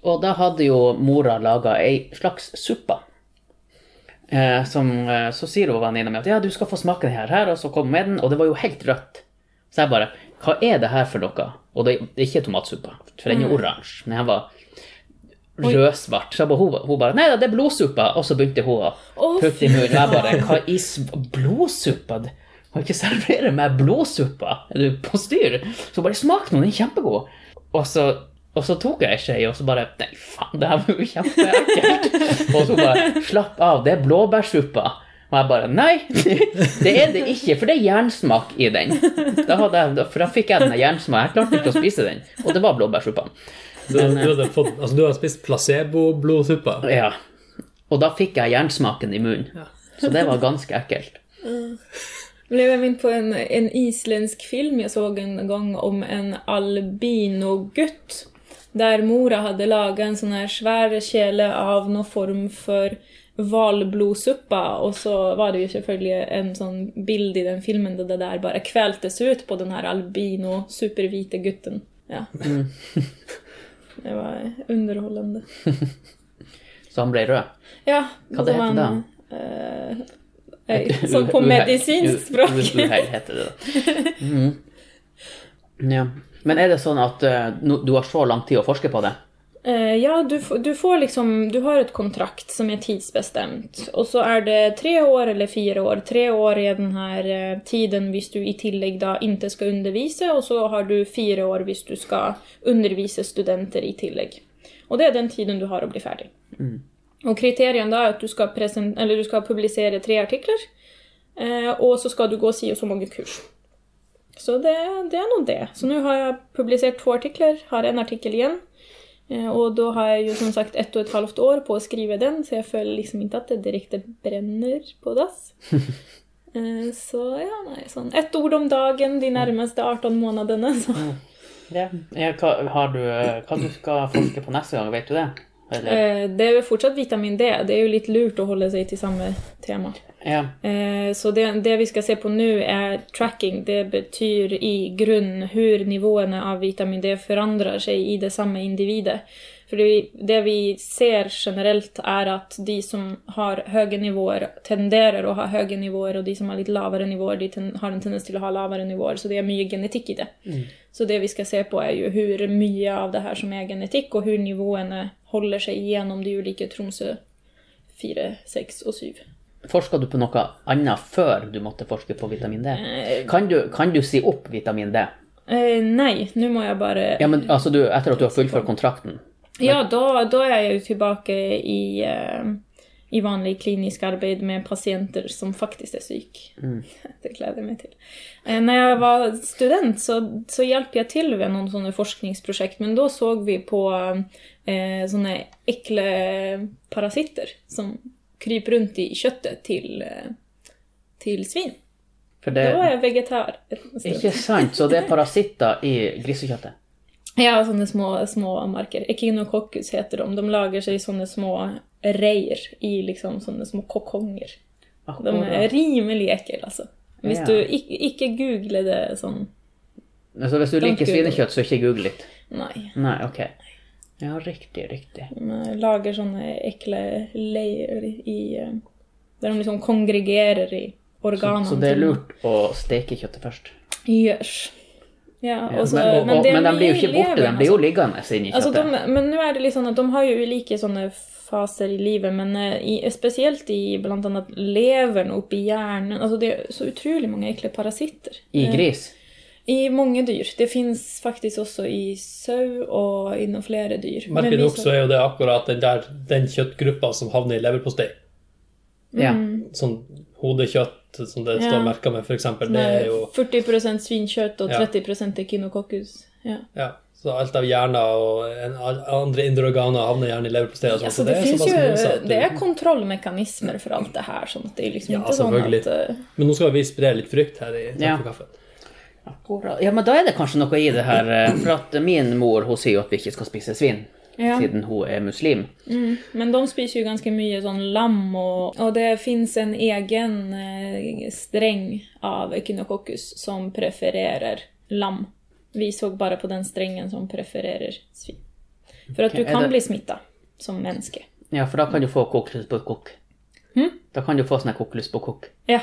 S1: Og da hadde jo mora laga ei slags suppe. Eh, som, eh, så sier hun venninna mi at ja, du skal få smake den her, her, og så kom hun med den, og det var jo helt rødt. Så jeg bare Hva er det her for noe? Og det, det er ikke tomatsuppe, for den er jo oransje. Men den var rødsvart. Så jeg bare, hun, hun bare Nei da, det er blodsuppe. Og så begynte hun å
S3: Å,
S1: putte i munnen. Og jeg bare Hva i sv- Blodsuppe? Du Kan ikke servere meg blodsuppe? Er du på styr? Så hun bare Smak nå, den er kjempegod. Og så, og så tok jeg ei skje, og så bare Nei, faen, det her var jo kjempeekkelt. Og så bare Slapp av, det er blåbærsuppa. Og jeg bare Nei, det er det ikke, for det er jernsmak i den. Da hadde jeg, for da fikk jeg den jernsmaken. Jeg klarte ikke å spise den. Og det var blåbærsuppa.
S2: du, du, hadde fått, altså, du hadde spist placebo-blodsuppa.
S1: Ja. Og da fikk jeg jernsmaken i munnen. Så det var ganske ekkelt.
S3: Blev jag in på en, en isländsk film jag såg en gång om en albinogutt. Där Mora hade lagat en sån här svär kele av någon form för valblodssuppa och så var det ju självklart en sån bild i den filmen där det där bara kvältes ut på den här albino supervita gutten. Ja. <laughs> det var underhållande.
S1: Så han ble rød.
S3: Ja,
S1: Vad heter
S3: var
S1: den?
S3: eh, som på
S1: <laughs> Uhell.
S3: medicinskt
S1: U-
S3: språk.
S1: u- Uhell heter det da. Mm. Ja. Men er det sånn at eh, no- du har så lang tid å forske på det?
S3: Eh, ja, du, f- du får liksom, du har ett kontrakt som är tidsbestämt. Och så är det tre år eller fyra år. Tre år är den här eh, tiden om du i tillägg då inte ska undervisa och så har du fyra år om du ska undervisa studenter i tillägg. Och det är den tiden du har att bli färdig. Och kriterien då är att du ska, present, eller du ska publicera tre artiklar eh, och så ska du gå si och så många kurs. Så det, det är nog det. Så nu har jag publicerat två artiklar, har en artikel igen. Eh, Och då har jag ju som sagt ett och ett halvt år på att skriva den så jag följer liksom inte att det direkt bränner på dass. Eh, Så ja, nej, sån. ett ord om dagen de närmaste 18 månaderna. Så.
S1: Ja. hva, har du, eh, hva du skal forske på neste gang, vet du det? Eller,
S3: Eh, Det är ju fortsatt vitamin D, det är ju lite lurt att hålla sig till samma tema.
S1: ja.
S3: Eh, Så det, det vi ska se på nu är tracking. Det betyder i grund hur nivåerna av vitamin D förändrar sig i det samma individer. För det vi, det vi ser generellt är att de som har höga nivåer tenderar att ha höga nivåer och de som har lite lavare nivåer de ten, har en tendens till att ha lavare nivåer. Så det är mycket genetik i det. Så det vi ska se på är ju hur mycket av det här som är genetik och hur nivåerna håller sig igenom de olika Tromsö 4, 6 och 7.
S1: Forska du på noe annet før du måtte forske på vitamin D? Kan du, kan du si opp vitamin D?
S3: Eh, nej, nu må jag bara...
S1: Ja, men altså du, etter at du har fullført kontrakten?
S3: Ja, då, då är jag ju tillbaka i, eh, i vanlig klinisk arbete med patienter som faktiskt är psyk.
S1: Mm.
S3: <laughs> Det gläder mig till. Eh, när jag var student så, så hjälpte jag till med någon sån här forskningsprojekt, men då såg vi på eh, såna här äckliga parasiter som kryper runt i köttet till, eh, till svin.
S1: For
S3: Då var
S1: det
S3: jag vegetar. en stund.
S1: Ikke sant? Så det er parasitter i grisekjøttet?
S3: Ja, sånne små, små marker. Echinococcus heter de. De lager seg sånne små reir i liksom sånne små kokonger. De er rimelig ekle, altså. Hvis
S1: Ja.
S3: du ikke, ikke googler det sånn
S1: Så hvis du liker
S3: Don't google.
S1: svinekjøtt, så ikke google litt.
S3: Nei.
S1: Nei, ok. Ja, riktig, riktig.
S3: De lager sånne ekle leir i eh, Der de liksom kongregerer i organene.
S1: Så det er
S3: sine.
S1: lurt å steke kjøttet først.
S3: Yes. Ja, og så,
S1: men, og,
S3: Altså, men,
S1: og,
S3: det
S1: men de blir jo ikke
S3: lever,
S1: borte, de blir jo liggende inni
S3: altså,
S1: kjøttet.
S3: de, Men nå er det litt sånn at de har jo ulike sånne faser i livet, men eh, i, spesielt i blant annet leveren og oppi hjernen altså Det er så utrolig mange ekle parasitter.
S1: I gris.
S3: I mange dyr. Det fins faktisk også i sau og innom flere dyr. sånn-
S2: Merkelig
S3: vi
S2: nok
S3: så-
S2: så er jo det akkurat den, der, den kjøttgruppa som havner i leverpostei.
S1: Ja.
S3: Mm.
S2: Sånn hodekjøtt som det
S3: Ja.
S2: står merka med, f.eks. Det
S3: Nei,
S2: er jo
S3: 40 svinkjøtt og
S2: Ja.
S3: 30 echinococcus. Ja.
S2: ja, Så alt av hjerner og en, andre indre organer havner gjerne i leverpostei. og sånt,
S3: Altså,
S2: så
S3: det,
S2: er
S3: finnes
S2: såpass mye
S3: jo
S2: at du-
S3: det er kontrollmekanismer for alt det her. Sånn at det er liksom
S2: Ja,
S3: ikke sånn
S2: selvfølgelig.
S3: at eh,
S2: Men nå skal vi spre litt frykt her i
S1: Ja.
S2: Kaffekaffen.
S1: Akkurat. Ja, men da er det kanskje noe i det her, eh, for at min mor hun sier jo at vi ikke skal spise svin,
S3: Ja.
S1: siden hun er muslim.
S3: mm. Men de spiser jo ganske mye sånn lam, og, og det fins en egen eh, streng av echinococcus som prefererer lam. Vi så bare på den strengen som prefererer svin. For at
S1: Ok,
S3: du
S1: er
S3: kan
S1: det-
S3: bli smitta som menneske.
S1: Ja, for da kan du få koklus på kokk.
S3: Hm?
S1: Da kan du få sånn her koklus på kokk.
S3: Ja.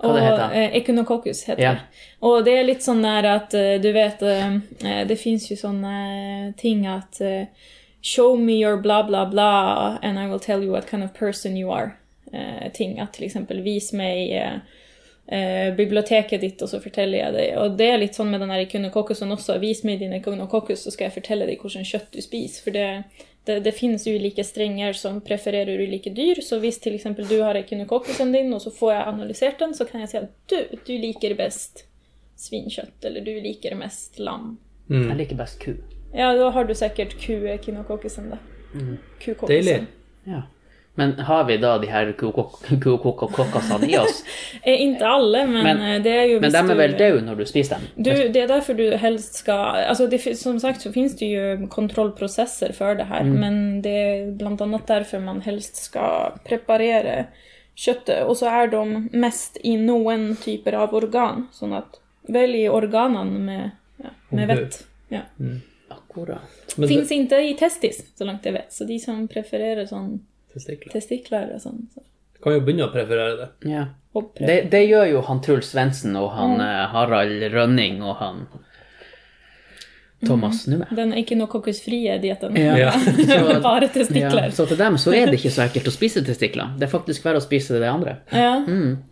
S1: Hva
S3: Og
S1: det heter?
S3: eh, Echinococcus heter
S1: Ja.
S3: det. Og det er litt sånn der at eh, du vet eh, Det fins jo sånne ting at eh, Show me your bla, bla, bla, and I will tell you what kind of person you are. Eh, ting at til eksempel Vis meg eh, eh, biblioteket ditt, og så forteller jeg deg. Og det er litt sånn med den her echinococusen også. Vis meg din echinococcus, så skal jeg fortelle deg hvordan kjøtt du spiser. For det, det, det finnes ulike strenger som prefererer ulike dyr. Så hvis til eksempel du har echinococcusen din, og så får jeg analysert den, så kan jeg si at du, du liker best svinkjøtt, eller du liker mest lam.
S2: Mm,
S1: Jeg liker best ku.
S3: Ja, da har du sikkert ku-echinococcusen, da.
S1: Mhm.
S2: Deilig.
S3: Kukokkusen.
S1: Ja. Men har vi da de her <laughs> kukokkene i oss?
S3: Eh, ikke alle, men,
S1: Men-
S3: eh, det er jo
S1: Men
S3: hvis
S1: de er
S3: du-
S1: vel døde når du spiser dem?
S3: Du, det er derfor du helst skal altså det, fin- Som sagt så finnes det jo kontrollprosesser for det her,
S1: Mhm.
S3: men det er blant annet derfor man helst skal preparere kjøttet. Og så er de mest i noen typer av organ, sånn at velg organene med, ja, med
S2: Hodet.
S3: vett. Ja.
S1: Akkurat.
S2: Men
S3: Fins ikke i testis, så langt jeg vet, så de som prefererer sånn
S2: testikler.
S3: testikler og sånn så.
S2: Kan jo begynne å preferere det.
S1: Ja.
S3: og pre-
S1: Det, det gjør jo han Truls Svendsen og han eh, Harald Rønning og han Thomas Numme.
S3: Den echinococus-frie dietten. <laughs>
S2: Ja.
S1: Så,
S3: Mhm. Bare
S1: ja,
S3: testikler.
S1: så til dem så er det ikke så ekkelt å spise testikler. Det er faktisk verre å spise det andre.
S3: Ja.
S1: Mm.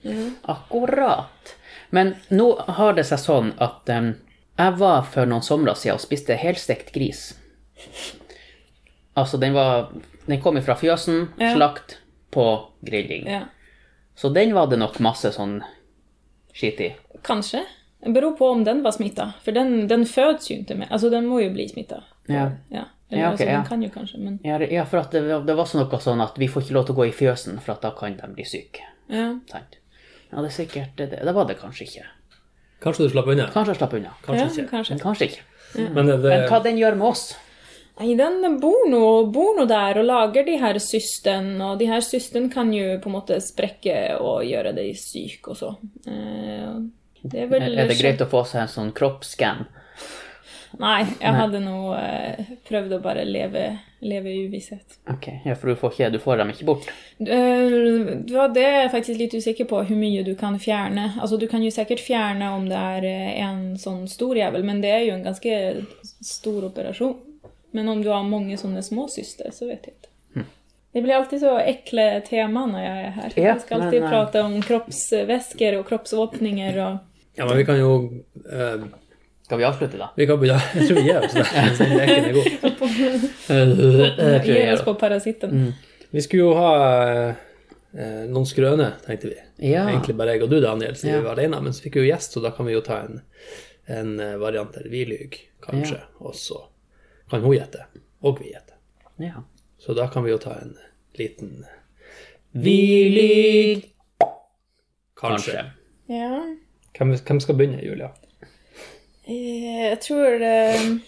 S1: Akkurat. Men nå har det seg sånn at em, jeg var for noen somre siden og spiste helstekt gris. Altså, den var Den kom ifra fjøsen,
S3: Ja.
S1: slakt, på grilling.
S3: ja.
S1: Så den var det nok masse sånn skitt i.
S3: Kanskje. Det beror på om den var smitta. For den, den føds jo ikke med Altså, den må jo bli smitta.
S1: Ja.
S3: Ja. Eller,
S1: Ja, ok,
S3: altså, den
S1: ja.
S3: kan jo kanskje, men
S1: Ja, det- ja, for at det, var- det var så noe sånn at vi får ikke lov til å gå i fjøsen, for at da kan de bli syke.
S3: ja.
S1: Sant? Ja, det er sikkert det. Det var det kanskje ikke.
S2: Kanskje du slapp unna.
S1: Kanskje jeg slapp unna.
S2: Kanskje
S3: ja,
S2: ikke.
S1: Men
S3: kanskje.
S1: kanskje ikke.
S2: Men det,
S1: Men hva den gjør med oss?
S3: Nei, den bor nå, bor nå der og lager de her system, og de her system kan jo på en måte sprekke og gjøre deg syk og så. Eh, Det er,
S1: Er,
S3: vel
S1: er det greit å få seg en sånn kroppsscan?
S3: Nei, jeg hadde nå eh, prøvd å bare leve, leve i uvisshet.
S1: Ok, ja, for du får, ikke, du får dem ikke bort.
S3: Eh, Det var det jeg er faktisk litt usikker på, hvor mye du kan fjerne. Altså, du kan jo sikkert fjerne om det er eh, en sånn stor jævel, men det er jo en ganske stor operasjon. Men om du har mange sånne små syster, så vet jeg ikke.
S1: Hm.
S3: Det blir alltid så ekle tema når jeg er her.
S1: Ja,
S3: jeg skal alltid
S1: men, eh,
S3: prate om kroppsvæsker og kroppsåpninger
S1: <laughs>
S3: og <laughs>
S2: ja, men vi kan jo eh,
S1: Skal vi avslutte, da?
S2: Vi kan begynne. <laughs> Jeg tror vi gir oss der.
S3: <laughs>
S2: Den leken er god.
S1: Jeg tror
S3: Gi
S1: jeg Mm.
S3: oss på parasitten.
S2: Vi skulle jo ha eh, noen skrøner, tenkte vi.
S1: Ja.
S2: Egentlig bare jeg og du, Daniel, siden
S1: Ja.
S2: vi var alene. Men så fikk vi jo gjest, så da kan vi jo ta en, en eh, variant der vi lyver, kanskje. Og så kan hun gjette. Og vi gjetter.
S1: Ja.
S2: Så da kan vi jo ta en liten Vi lyver kanskje.
S1: Kanskje.
S3: Ja.
S2: Hvem, hvem skal begynne, Julia?
S3: Eh, Jeg tror eh,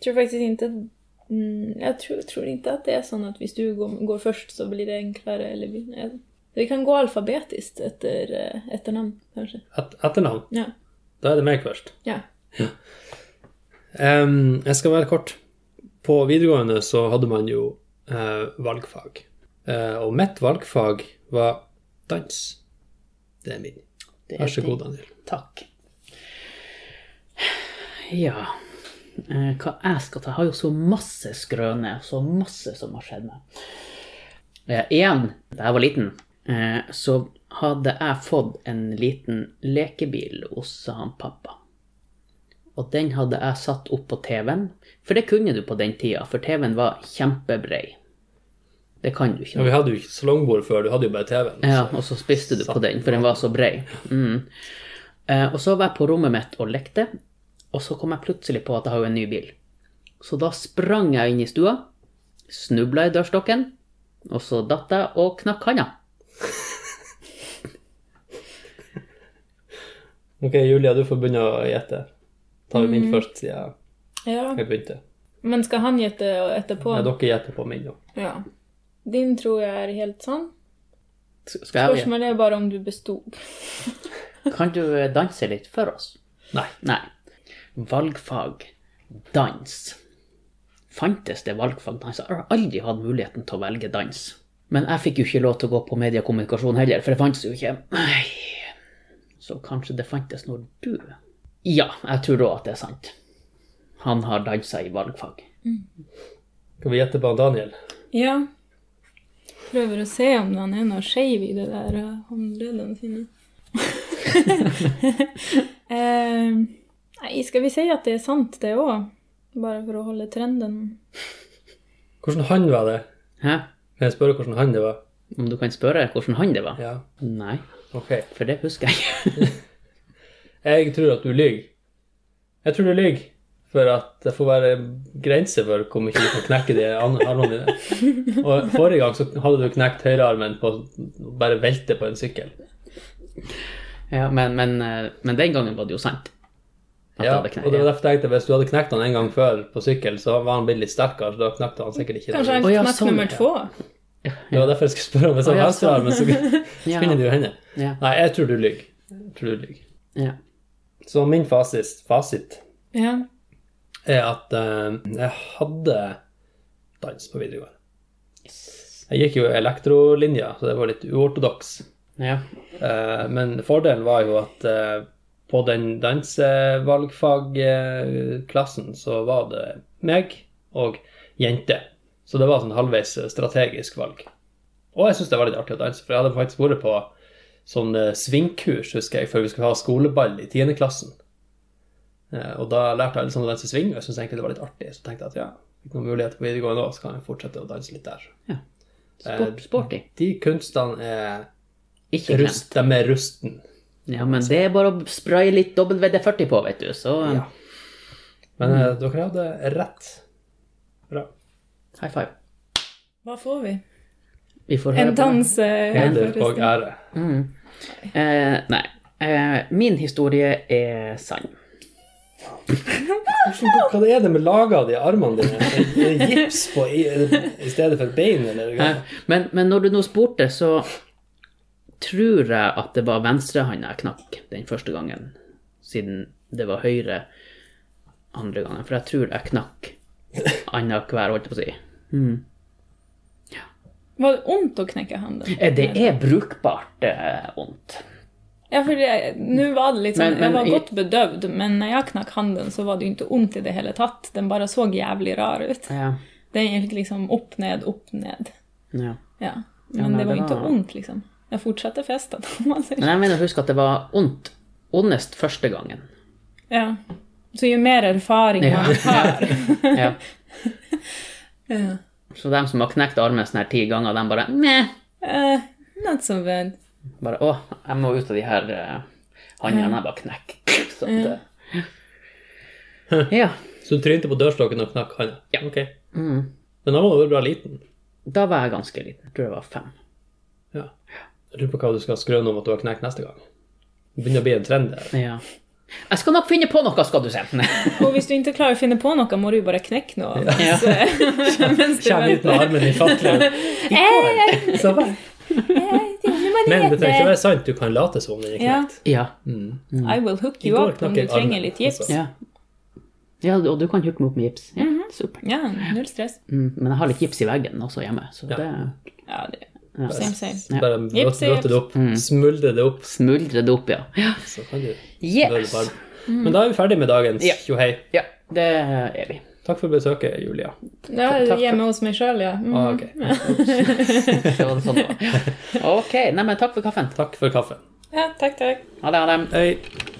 S3: tror faktiskt inte... Mm, jag tror, tror inte att det är så att hvis du går, går först så blir det enklare. Eller, vi- eh, vi kan gå alfabetiskt efter eh, etternamn, kanske.
S2: Et etternavn.
S3: Ja.
S2: Da er det meg først.
S3: ja.
S2: Ehm, jeg skal være kort. På videregående så hadde man jo eh, valgfag. Eh, og mitt valgfag var dans. Det er min.
S1: Det er
S2: Vær så
S1: det.
S2: god, Daniel.
S1: Takk. Ja eh, Hva jeg skal ta? Jeg har jo så masse skrøner, så masse som har skjedd meg. Eh, Igjen, da jeg var liten, eh, så hadde jeg fått en liten lekebil hos han pappa. Og den hadde jeg satt opp på TV-en, for det kunne du på den tida, for TV-en var kjempebrei. Det kan du ikke nå.
S2: Ja, vi hadde jo ikke salongbord før, du hadde jo bare TV-en.
S1: Ja, og så spiste du på den, for den var så brei. Mm. Eh, og så var jeg på rommet mitt og lekte, og så kom jeg plutselig på at jeg har jo en ny bil. Så da sprang jeg inn i stua, snubla i dørstokken, og så datt jeg og knakk handa.
S2: Ok, Julia, du får begynne å gjette. Tar vi min
S1: Mm.
S2: først, siden jeg-
S3: ja.
S2: jeg begynte.
S3: Men skal han gjette etterpå?
S2: Ja, dere gjetter på min nå.
S3: Ja. Din tror jeg er helt sann.
S1: S- Skal jeg,
S3: Spørsmålet er bare om du bestod.
S1: kan du danse litt for oss?
S2: Nei.
S1: Nei. Valgfag dans. Fantes det valgfag dans? Jeg har aldri hatt muligheten til å velge dans. Men jeg fikk jo ikke lov til å gå på mediekommunikasjon heller, for det fantes jo ikke. Nei. Så kanskje det fantes når du Ja, jeg tror òg at det er sant. Han har dansa i valgfag.
S2: Skal vi gjette på Daniel?
S3: Ja. Prøver å se om han er noe skeiv i det der eh, håndleddene sine. <laughs> eh, nei, skal vi si at det er sant, det òg? Bare for å holde trenden.
S2: Hvordan han var det?
S1: Hæ?
S2: Kan jeg spørre hvordan han det var?
S1: Om du kan spørre hvordan han det var?
S2: Ja,
S1: Nei,
S2: ok.
S1: for det husker jeg ikke. <laughs>
S2: Jeg tror at du lyver. Jeg tror du lyver. For at det får være grenser for hvor mye du kan knekke de an- armene dine. Og forrige gang så hadde du knekt høyrearmen på å bare velte på en sykkel.
S1: Ja, men, men, eh, men den gangen var det jo sant. At
S2: Ja,
S1: jeg
S2: og
S1: hadde
S2: det
S1: kne-
S2: var derfor jeg tenkte hvis du hadde knekt han en gang før på sykkel, så var han blitt litt sterkere, så da knekte han sikkert ikke.
S3: Kanskje han
S1: Å, ja,
S3: knakk
S1: sånn,
S3: nummer
S1: ja.
S3: to?
S2: Det var derfor jeg skulle spørre om hvis han
S1: Å, ja, sånn.
S2: hadde venstrearmen, så
S1: Ja.
S2: kunne det jo hende.
S1: Ja.
S2: Nei, jeg tror du lyver. Jeg tror du lyver.
S1: ja.
S2: Så min fasis, fasit
S3: Ja.
S2: er at eh, jeg hadde dans på videregående. Jeg gikk jo elektrolinja, så det var litt uortodoks.
S1: ja.
S2: Eh, men fordelen var jo at eh, på den dansevalgfagklassen så var det meg og jente. Så det var sånn halvveis strategisk valg. Og jeg syns det var litt artig å danse, for jeg hadde faktisk vært på sånn eh, svingkurs, husker jeg, før vi skulle ha skoleball i 10. klassen. Eh, og da lærte jeg litt sånn å danse sving, og jeg syntes egentlig det var litt artig. Så tenkte jeg at ja, fikk noen muligheter på videregående òg, så kan jeg fortsette å danse litt der. Eh,
S1: Sport, sporty.
S2: De kunstene er,
S1: Ikke klem.
S2: rust, de er rusten.
S1: Ja, men det er bare å spraye litt WD-40 på, vet du, så eh,
S2: Ja. Men eh, dere hadde rett. Bra.
S1: high five.
S3: Hva får vi?
S1: Vi får høre
S3: En
S1: på det.
S3: dans eh,
S2: Heder og
S3: forestilling.
S2: ære.
S1: Eh, nei. Eh, min historie er sann.
S2: Hva er det med laget av de armene dine? Er det gips på i, i stedet for bein? Eller? hva?
S1: Eh, men, men når du nå spurte, så tror jeg at det var venstrehånda jeg knakk den første gangen, siden det var høyre andre gangen. For jeg tror jeg knakk annenhver, holdt jeg på å si.
S3: Var det vondt å knekke hånden?
S1: Eh, det er brukbart eh, vondt.
S3: Ja, for det- nå var det litt sånn,
S1: Men- men
S3: jeg var
S1: i-
S3: godt bedøvd, men når jeg knakk handen, så var det jo ikke vondt i det hele tatt. Den bare så jævlig rar ut.
S1: Ja.
S3: Den gikk liksom opp, ned, opp, ned.
S1: ja.
S3: Ja.
S1: Ja,
S3: Men
S1: nei,
S3: det var
S1: det
S3: ikke
S1: var-
S3: vondt, liksom. Jeg fortsatte festen. <laughs> om man sier.
S1: Men jeg mener å huske at det var vondt. Ondest første gangen.
S3: Ja. Så jo mer erfaring
S1: Ja.
S3: man har
S1: <laughs> Ja.
S3: <laughs> ja.
S1: Så dem som har knekt armen sånn her ti ganger, dem bare Meh.
S3: Eh, Not so bad.
S1: Bare å, jeg må ut av de her uh, håndjernene. Jeg bare knekk. <laughs> Sånn det. Ja.
S2: Så du trynte på dørstokken og knakk hånda?
S1: Ja.
S2: Ok.
S1: Mm.
S2: Men da var du vel bra liten?
S1: Da var jeg ganske liten. Jeg tror jeg var fem.
S2: Ja. Jeg lurer på hva du skal skrøne om at du har knekt neste gang. Det begynner å bli en trend der.
S1: Ja. Jeg skal nok finne på noe, skal du se. <laughs>
S3: Og hvis du ikke klarer å finne på noe, må du jo bare knekke noe. <laughs>
S1: Ja.
S3: Mens du
S2: <laughs> Kjem ut med
S3: venter.
S2: armen <laughs> i fatløs.
S3: Eh,
S2: Så vel. Men det trenger ikke være sant. Du kan late som om den er
S3: Ja.
S2: knekt.
S1: Ja.
S3: I will hook
S2: I
S3: you
S2: går
S3: up om
S2: knakk
S3: du
S2: jeg
S3: trenger
S2: armen,
S3: litt gips.
S2: altså.
S1: ja. Ja, og du kan hooke meg opp med gips. Ja,
S2: Mhm.
S1: Supert.
S3: Ja, null stress.
S1: Mm, men jeg har litt gips i veggen også hjemme, så
S2: Ja.
S1: det
S3: Ja, det
S1: Ja.
S3: Same, same.
S1: Ja.
S2: Bare
S3: Jipsi,
S2: blåte det opp, smuldre det opp,
S1: smuldrer det opp, ja. ja.
S2: så kan du da er du
S1: Yes!
S2: varm.
S3: Mm.
S2: Men da er vi ferdig med dagens
S1: Ja.
S2: tjohei.
S1: Ja, det er vi.
S2: Takk for besøket, Julia.
S1: Takk
S3: Ja,
S1: for-
S3: hjemme hos meg sjøl, ja. Mm.
S2: Ah, ok.
S1: Det var det
S2: <laughs>
S1: sånn det var. Ok, nei, men takk for kaffen.
S2: Takk for kaffen.
S3: Ja, takk, takk.
S1: Ha det, ha det.
S2: Hei.